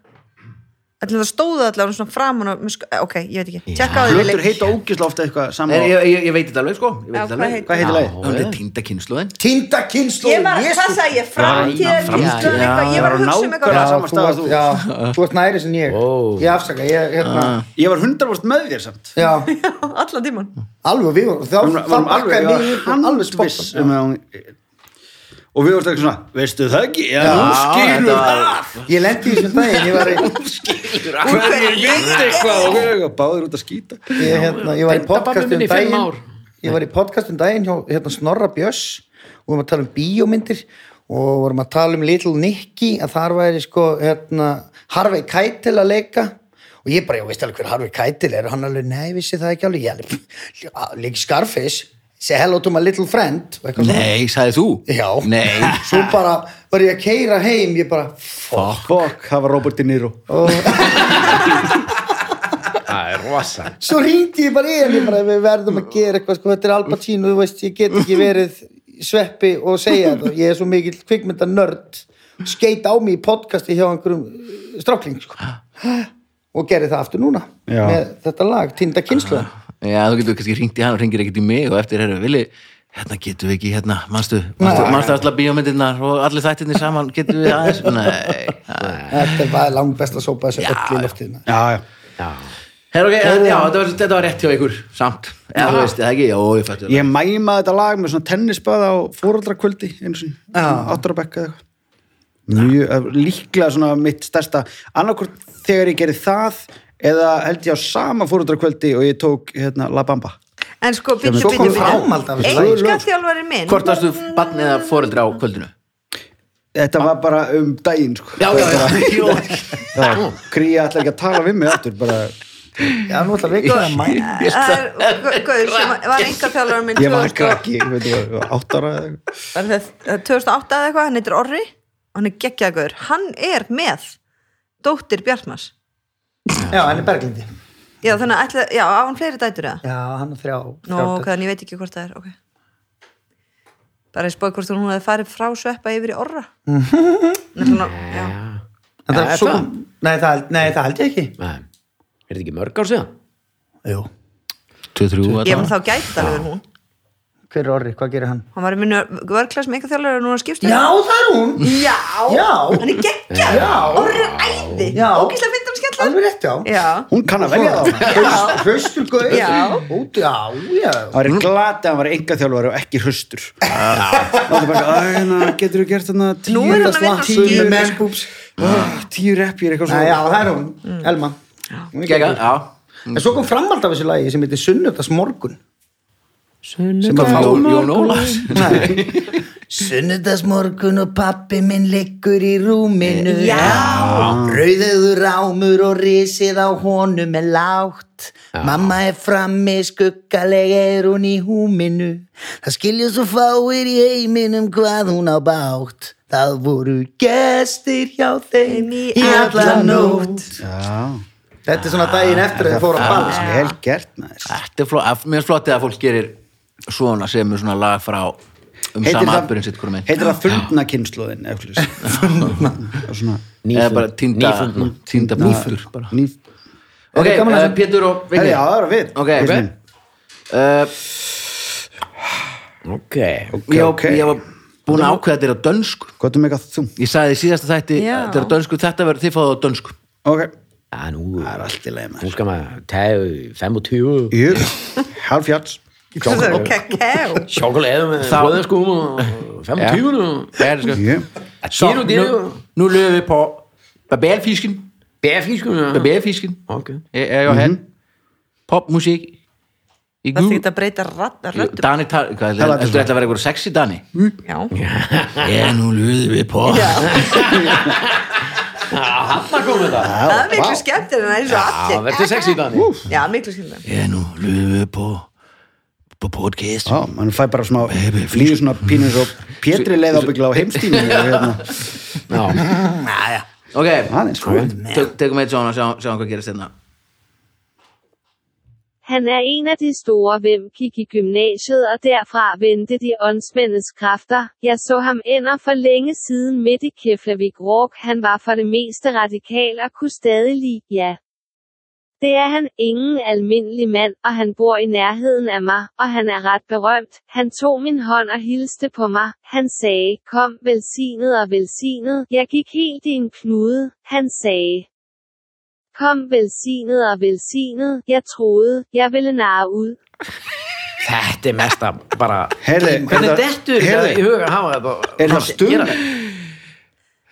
S5: allir það stóðu allavega svona framan og, sko- eh, ok, ég veit ekki, tjekka á því
S4: Plötur heita ógisla ofta eitthvað
S1: Nei,
S4: saman
S1: ég, ég, ég veit þetta alveg sko Ég veit
S5: Já,
S1: þetta
S5: hvað
S1: alveg
S5: heitir-
S4: Hvað heitir lagið?
S1: Það er týnda kynnslóðin
S3: Týnda kynnslóð
S5: ég var, hvað sagði ég, framtíðar
S1: framtíðar,
S5: kynslóðin eitthvað, ég var að hugsa um
S4: Já,
S5: eitthvað
S4: nákvæmlega. sama
S3: þú
S4: stað
S3: varst-
S4: þú.
S3: já, þú ert næri sem ég
S2: Ó.
S3: ég afsaka, ég hérna
S4: Ég var 100% með þér samt
S3: já,
S5: (laughs) allan tíman
S3: alveg við vorum þá,
S4: Við
S3: þá
S4: varum
S3: bakkaði við
S4: alveg, ég
S3: upp
S4: var
S3: og alveg
S4: handviss
S3: spokk
S4: um að hún Og við vorum ekki svona, veistu það ekki? Já,
S1: Já,
S4: nú skilur
S1: þetta
S4: það
S1: var-
S3: ég lendi í þessum daginn ég var, í-
S4: Hvernig veit eitthvað og við erum báðir út að skýta
S3: ég, hérna, ég var í
S2: Tengdapabbi
S3: podcast
S2: minn
S3: um
S2: í fimm
S3: daginn
S2: ár.
S3: ég var í podcast um daginn hjá hérna, Snorra Björs og við varum að tala um bíómyndir og vorum að tala um Little Nicky að þar væri sko hérna, Harvey Keitel að leika og ég bara, já, veist alveg hver Harvey Keitel er og hann alveg, nei, vissi það ekki alveg ég alveg, líka Scarface say hello to my little friend og eitthvað svona.
S1: Nei, sagði þú? (laughs)
S3: já,
S1: Nei,
S3: svo bara var ég að keira heim, ég bara fuck,
S4: Fuck, það var Robert De Niro
S2: það er rosa
S3: svo ringdi ég bara í hann ég bara, við verðum að gera eitthvað sko, þetta er Al Pacino, þú veist, ég get ekki verið sveppi og segja þetta ég er svo mikill kvikmynda nörd skeit á mig í podcasti hjá einhverjum strákling sko. og gerði það aftur núna
S4: Já.
S3: með þetta lag, Tinda kynslu
S1: já, þú getur kannski ringt í hann og ringir ekkert í mig og eftir erum villi hérna getum við ekki, hérna, manstu manstu, manstu allar bíómyndirnar og allir þættirnir saman getum við aðeins Nei, nei.
S3: þetta var langt best að sópa þessu öll í loftina
S4: Já, já
S1: Her, okay, en, já, þetta var, þetta var rétt hjá ykkur samt, eða þú veist, eða ekki, já, ég fættu
S4: Ég mæma þetta lag með svona tennisböð á fóröldrakvöldi einu sinni, áttur á bekka eða eitthvað Mjög, eh, líklega svona mitt stærsta annarkvort þegar ég gerði það eða held ég á sama fóröldrakvöldi og ég tók hérna La Bamba
S5: En sko, byrju,
S3: svo kom
S5: byrju,
S3: framhald af
S5: byrju
S3: þessu.
S5: Enga þjálfari minn
S1: Hvort varstu barn eða foreldra á kvöldinu?
S4: Þetta var bara um daginn sko.
S1: Já, já, (laughs) já, jú
S4: já Kría ætla ekki að tala við mig aftur bara,
S3: já, nú ætlar við ekki að mæna
S5: Það er gau- gauður eh, sem var enga þjálfari minn
S4: Ég
S5: 2000
S4: var
S5: og-
S4: krakki, veit þú, áttara eða
S5: var
S4: eitthvað
S5: það- eh, 2008 eða eitthvað, hann heitir Orri og hann er geggjagur, hann er með dóttir Bjartmars
S3: já, hann er Berglindi
S5: já þannig að, ætla, já, á hann fleiri dætur eða
S3: já, hann er þrjá,
S5: nú,
S3: þrjá
S5: ok, þannig ég veit ekki hvort það er, ok bara ég spóið hvort hún hefði farið frá sveppa yfir í
S3: (laughs)
S5: Orra Nei, svona, já.
S3: en það
S2: Er
S3: er svo
S2: það?
S3: nei það, nei, það held ég ekki
S2: Nei, er þetta ekki mörg ár síðan?
S3: Jú.
S1: 23
S5: ég var þá gæti alveg verið hún
S3: hver er orri, hvað gerir hann?
S5: hann var í minni vörkla sem enga þjálfari og núna skipst
S3: já, það er hún
S5: já,
S3: Já.
S5: hann er geggjagur Orri er æði,
S3: Já.
S5: ógíslega fyndum skemmtilega
S3: alveg rétt, já
S5: Mm. já,
S4: Hún kann að velja það
S3: Hraust- hraustur gauð
S5: Já.
S3: út, já, já
S4: Það var glati að hann var enga þjálfari og ekki hraustur. Það var bara, "Æ, hérna, getur þú gert þannig tíu
S5: Nú er hann að vinna á
S4: tíu,
S5: skýr.
S4: menn, búbs, ah, tíu repjir, eitthvað
S3: Nei, já,
S4: svona.
S3: það er hún, Elma Hún er
S1: Gekka,
S3: geggjör.
S1: já
S3: en svo kom framhald af þessu lagi sem heitir Sunnudags morgun
S1: Sem að fá Jón Ólafs
S3: Sunnudags morgun og pappi minn liggur í rúminu Já Rauðuður rámur og risið á honum er lágt Mamma er frammi, skuggaleg er hún í húminu Það skilja svo fáir í heiminum hvað hún á bátt Það voru gestir hjá þeim í alla nótt
S4: Já,
S3: Þetta er svona daginn eftir að þið fóru á ball sko.
S4: vel gert, maður.
S1: Þetta er flott, að- mér er flottið að fólk gerir svona semur svona lag frá um
S4: Heitir
S1: sama
S4: það-
S1: atbyrðin sitt hverju minn
S4: Heitir það fundna kynnslóðin, eftir þess. Svona,
S1: eða bara týnda
S2: nýfundna.
S1: týnda búfur bara
S4: nýf.
S1: ok,
S3: Er gaman að
S1: eh,
S3: sem-
S1: Pétur og
S4: Herri,
S1: Vigni
S4: já, það var við.
S1: ok,
S4: Við
S1: ok.
S4: erum-
S1: Eh,
S2: ok,
S1: ég
S4: ok.
S1: ég var búin að ákveða þér á dönsku
S4: Hvað er með eitthvað þú?
S1: ég sagði í síðasta þætti
S5: Já.
S1: þetta er á dönsku, þetta verður þið fáið á dönsku
S4: Ok,
S2: já, nú
S4: það er allt í leið,
S2: nú
S4: maður.
S2: skal maður tæðu 25
S4: Jú, halv fjárs.
S5: kakao
S2: sjokkulaði með
S1: Þá-
S2: blöðaskum og 25 og
S1: það er sko
S4: Jú.
S1: Så,
S2: Siger du det
S1: nu,
S2: jo?
S1: nu løber vi på barberfisken
S2: bærfískum já.
S1: barberfisken
S2: ok,
S1: jeg er jo han popmusik í
S5: það
S1: gul
S5: þýtt að um breyta rætt röddum
S1: Dani, tar- hvað ætlar
S4: Talaðu
S1: ætlar þetta að vera eitthvað sexy Dani?
S5: já,
S1: Já, nú löðum við på
S5: já
S2: hann kom með það
S5: það er miklu skemmtir en það er svo
S2: já,
S5: allir
S2: verður sexy Dani
S5: Já, miklu skilðan.
S1: Já, nú löðum við på på podcast
S4: Já, mann fæ bara smá, líður svona pínur svo Pétri leið ábyggla
S1: (laughs)
S4: á heimstími og hérna,
S2: já,
S1: Ok,
S4: aðeins, sko.
S1: tök- tökum eitt svona og sjáum sjá hvað gerist hérna
S7: Han er en af de store, hvem gik i gymnasiet og derfra vendte de åndsmændes kræfter. Jeg så ham ender for længe siden midt i Keflavik Råk. Han var for det meste radikal og kunne stadig lide ja. Det er han, ingen almindelig mand, og han bor i nærheden af mig, og han er ret berømt. Han tog min hånd og hilste på mig. Han sagde, kom, velsignet og velsignet. Jeg gik helt i en knude. Han sagde, Kom velsignet og velsignet, jeg troede, jeg ville narre ud.
S2: þetta er mesta bara
S4: Herri,
S2: hvernig dettur þetta í
S4: herri,
S2: huga að hafa þetta
S4: er það stund?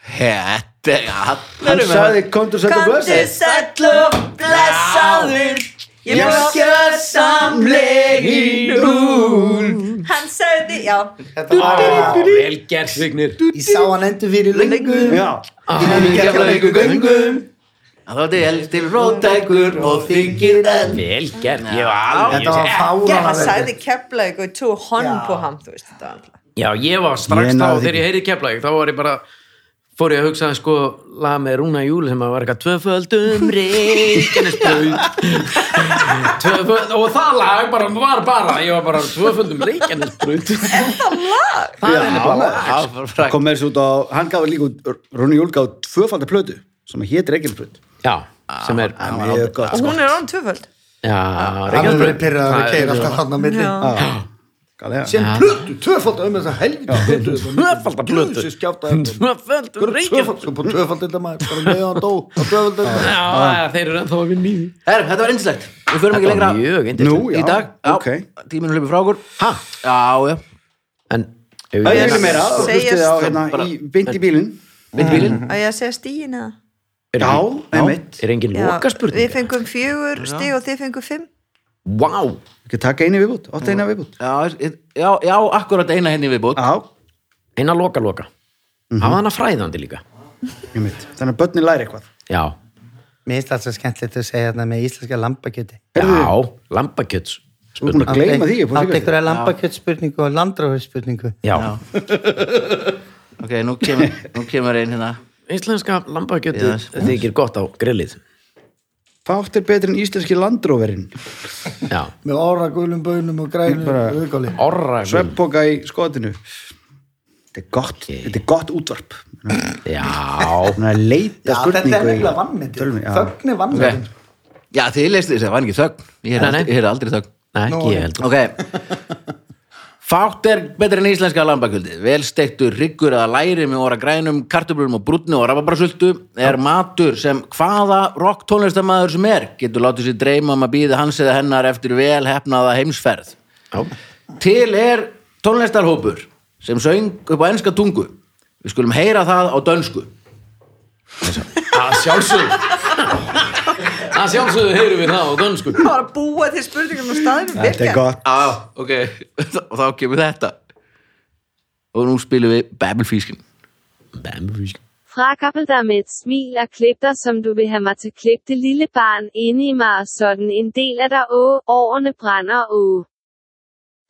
S1: Þetta er allir
S4: Hann
S1: með-
S4: sagði, komdu sætt og blöðsætt.
S5: sæll og blessaður, ég blokkar samlegi nú. Hann sagði, já,
S3: Þetta var,
S2: vel gert Vignir
S3: ég sá hann endur fyrir löngu
S4: Já,
S3: Ég hef ekki gefla ykkur göngum
S1: Þá er elsti róttækur og þykir enn
S2: Vel gert, ég var alveg
S3: Þetta var
S5: Já,
S3: fáránlega
S5: hann
S3: vel
S5: sagði keflaug og tvo honn
S3: Já.
S5: på ham, þú veist þetta var alltaf.
S2: Já, ég var strax
S4: Ég
S2: þá,
S4: náði
S2: þegar ég heyrði keflaug, þá var ég bara fór ég að hugsa sko lag með Rúna Júli sem að var eitthvað tvöföldum
S4: (laughs)
S2: reikjanesbraut Tvöföld, og það lag bara var bara, ég var bara tvöföldum reikjanesbraut
S4: Já,
S1: Það var frægt.
S4: kom með þessu út á, hann gaf líka út Rúni Júl gaf tvöfaldar plötu sem hétt Reykjavíkbröð
S2: Já, sem er
S4: mjög gott sko.
S5: og hún er án tvöföld
S2: Já,
S3: Hann hefur verið
S2: reikjanesbraut
S3: pyrrað að keira alltaf hann á milli
S4: Galega.
S3: Sem plötu, tvöfald um þess að helvita plötu
S2: Tvöfalda plötu.
S3: Þessi skjáta Tvöfald,
S2: Tvöföldum reikjanesbraut
S3: sko, bara tvöfald illa maður Bara með hann dó, á tvöfald illa
S2: Já,
S4: Ah.
S2: þeir eru ennþá að vinna í því
S1: Herrum, þetta var einslegt. Við förum ekki
S2: Þetta
S1: lengra
S2: var mjög
S4: Nú,
S2: indislegt
S4: já,
S1: í dag.
S4: ok
S1: Tíminu hlipið frá okkur.
S2: Ha?
S1: Já, já.
S2: En ef
S4: Það er
S2: ég-
S4: ekki meira, þú
S5: Segjast-
S4: hlustið á hérna
S1: bara-
S4: í beint í bílinn
S1: Mynd bílinn.
S5: að ég að segja stíin eða
S2: Er-
S4: Já, einmitt.
S2: Er engin
S5: Já,
S2: loka
S5: við
S2: spurning?
S5: fengum fjögur stíg og þið fengum fimm
S2: Vá,
S4: Ekki taka einu viðbútt, átt eina viðbútt
S1: Já, já, já, akkurat eina hérna henni viðbútt.
S4: Já,
S2: eina loka loka
S4: Mhm.
S2: Hafa hana fræðandi líka
S4: einmitt Þannig að börnin læri eitthvað
S2: Já,
S3: Mér finnst alltaf skemmtilegt að segja þarna með íslenska lambakjöti
S2: já, lambakjöts
S4: Þú er búin að gleyma því, ég búið
S3: Átti
S4: að
S3: ykkur að lambakjötspurningu og landráðspurningu
S2: Já,
S1: Ok, nú
S2: (laughs)
S1: kemur, nú kemur einn hérna.
S2: íslenska lambakjötu
S1: Já.
S5: sko.
S2: þykir gott á grillið
S4: Fátt er betri en íslenski landróverinn
S2: Já,
S3: Með ára gulum bönum og grænum
S4: Bara-
S3: og auðgáli
S2: orra
S4: Sveppoka í skotinu Þetta er gott, þetta er gott útvarp
S2: Já,
S4: Þannig að leita
S3: Já, þetta er
S4: spurningu í
S3: nefnilega vannmyndin
S4: tölvunni, já.
S3: Þögn er vannmyndin
S1: Ok. Já, þið leist þess að það var ekki þögn. Ég heyrði
S2: Nei, nei.
S1: aldrei- ég heyrði aldrei þögn.
S2: Nei, (laughs) ekki ég heldur
S1: Ok.
S2: (laughs)
S1: Fátt er betur en íslenska lambakjöldið. Vel steiktur riggur eða læri með óra grænum, kartöflum og brúnni og rababrasultu er matur sem hvaða rock tónlistamæður sem er getur látið sér dreyma um að býða hans eða hennar eftir vel hefnaða heimsferð.
S2: Já.
S1: Til er tónlistarhópur sem söng upp á enska tungu. Við skulum heyra það á dönsku.
S2: Að sjálfsögðu Að sjálfsögðu heyrum við það á dönsku
S5: það var að búa til spurningum og staðum
S4: Þetta er gott
S1: Já, ah, ok. (laughs) og þá kemur þetta. Og nú spilum við Babelfískin.
S2: Bambus.
S7: Frakabel dig med et smil og klip dig, som du vil have mig til klip det lille barn inde i mig, og sådan en del af dig, åh, årene brænder, åh.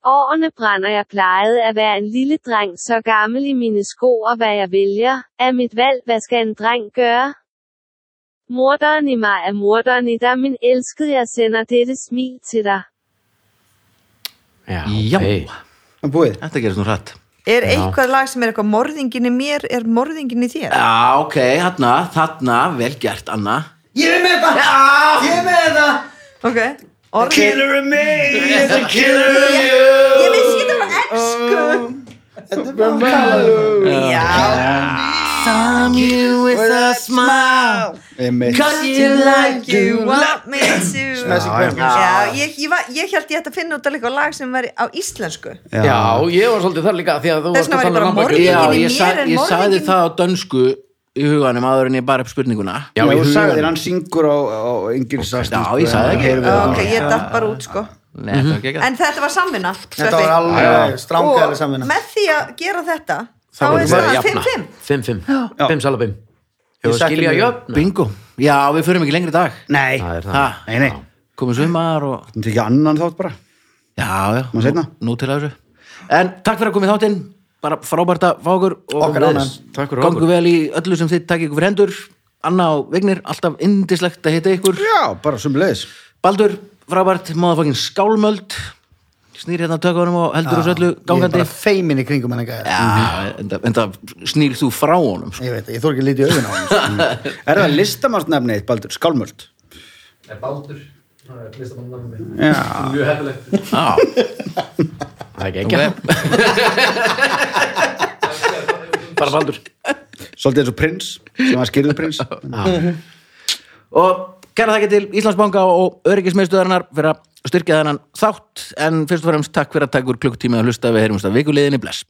S7: Årene brænder, jeg plejede at være en lille dreng, så gammel i mine sko, og hvad jeg vælger, er mit valg, hvad skal en dreng gøre? Morderen i mig er morderen i dig, min elskede, jeg sender dette smil til dig.
S2: Já,
S1: Já.
S2: ok.
S4: Það er búið
S1: Þetta gerist nú hratt.
S5: er eitthvað lag sem er eitthvað morðingin í mér er morðingin í þér
S1: Já, ok, þarna, þarna, vel gert, Anna.
S3: Ég er með þetta Ég er með þetta
S5: ok orðin
S4: Killer in me, is a killer
S5: ég vissi ekki þetta var ennsku
S3: Þetta er bara að tala um
S5: já
S1: Some you with a smile
S4: Einmitt
S1: Cause you like
S5: you want me to
S3: Þessi hvernig
S5: já ég, ég, var, ég held ég ætti að finna út af eitthvað lag sem væri á íslensku
S2: Já, ég var svolítið þar líka því að þú
S5: Þess vegna var ég bara
S2: lambakjöt.
S5: morðingin.
S1: Já,
S5: Morðingin í
S1: ég,
S5: mér
S1: sa,
S5: er
S1: ég sagði
S5: morðingin.
S1: það á dönsku í huganum áður en ég bara upp spurninguna
S2: Já,
S4: Já,
S2: ég
S4: þú sagði
S2: hugaði
S4: þér, hann syngur á, á engilsast sko,
S1: Já, ég sagði ekki.
S5: ok ég datt bara út sko
S1: Nei, þetta var ekki ekki
S5: en þetta var samvinna
S3: Þetta var
S5: Sveppi.
S3: alveg strángaðileg
S5: og
S3: samvinna
S5: með því að gera þetta þá
S3: voru
S5: er staðan 5-5
S2: 5-5 5 salabim Ég var
S3: setti
S2: skilja
S3: mig-
S2: jöfn
S1: Bingo, já, við förum ekki lengri í dag
S4: Nei,
S2: Það er
S1: ha,
S2: það
S4: nei, nei
S1: Komum sumar og
S4: Þetta er ekki annan þátt bara
S1: Já, já,
S4: Má seinna.
S1: nú til að þessu En takk fyrir að komið þáttinn Bara frábært að fá okkur og
S3: Okkar ánægð.
S2: Takk fyrir
S1: Gangu
S2: okkur.
S1: vel í öllu sem þið takk ykkur fyrir hendur Anna og Vignir, alltaf indislegt að hitta ykkur
S4: Já, bara sem leiðis
S1: Baldur, frábært, móðafokkin skálmöld snýr hérna tökunum og heldur þessu öllu
S3: Ég er
S1: gangandi
S3: bara feimin í kringum hann eitthvað
S1: Já, en það- en það snýr þú frá honum sko.
S3: Ég veit, það, ég þór ekki að lítið í augun á hann
S4: Er það listamannsnefnið, Baldur, skálmöld? Er Baldur, listamannsnefnið Já,
S1: Já,
S2: Það er ekki ekki Bara baldur
S4: svolítið eins og prins sem var skýrðu prins
S1: (laughs) Og kæra þakki til Íslandsbanka og öryggismiðstöðarinnar fyrir að styrkja þennan þátt en fyrst og fremst takk fyrir að taka úr klukkutíma að hlusta við heyrumst að vikuliðinni bless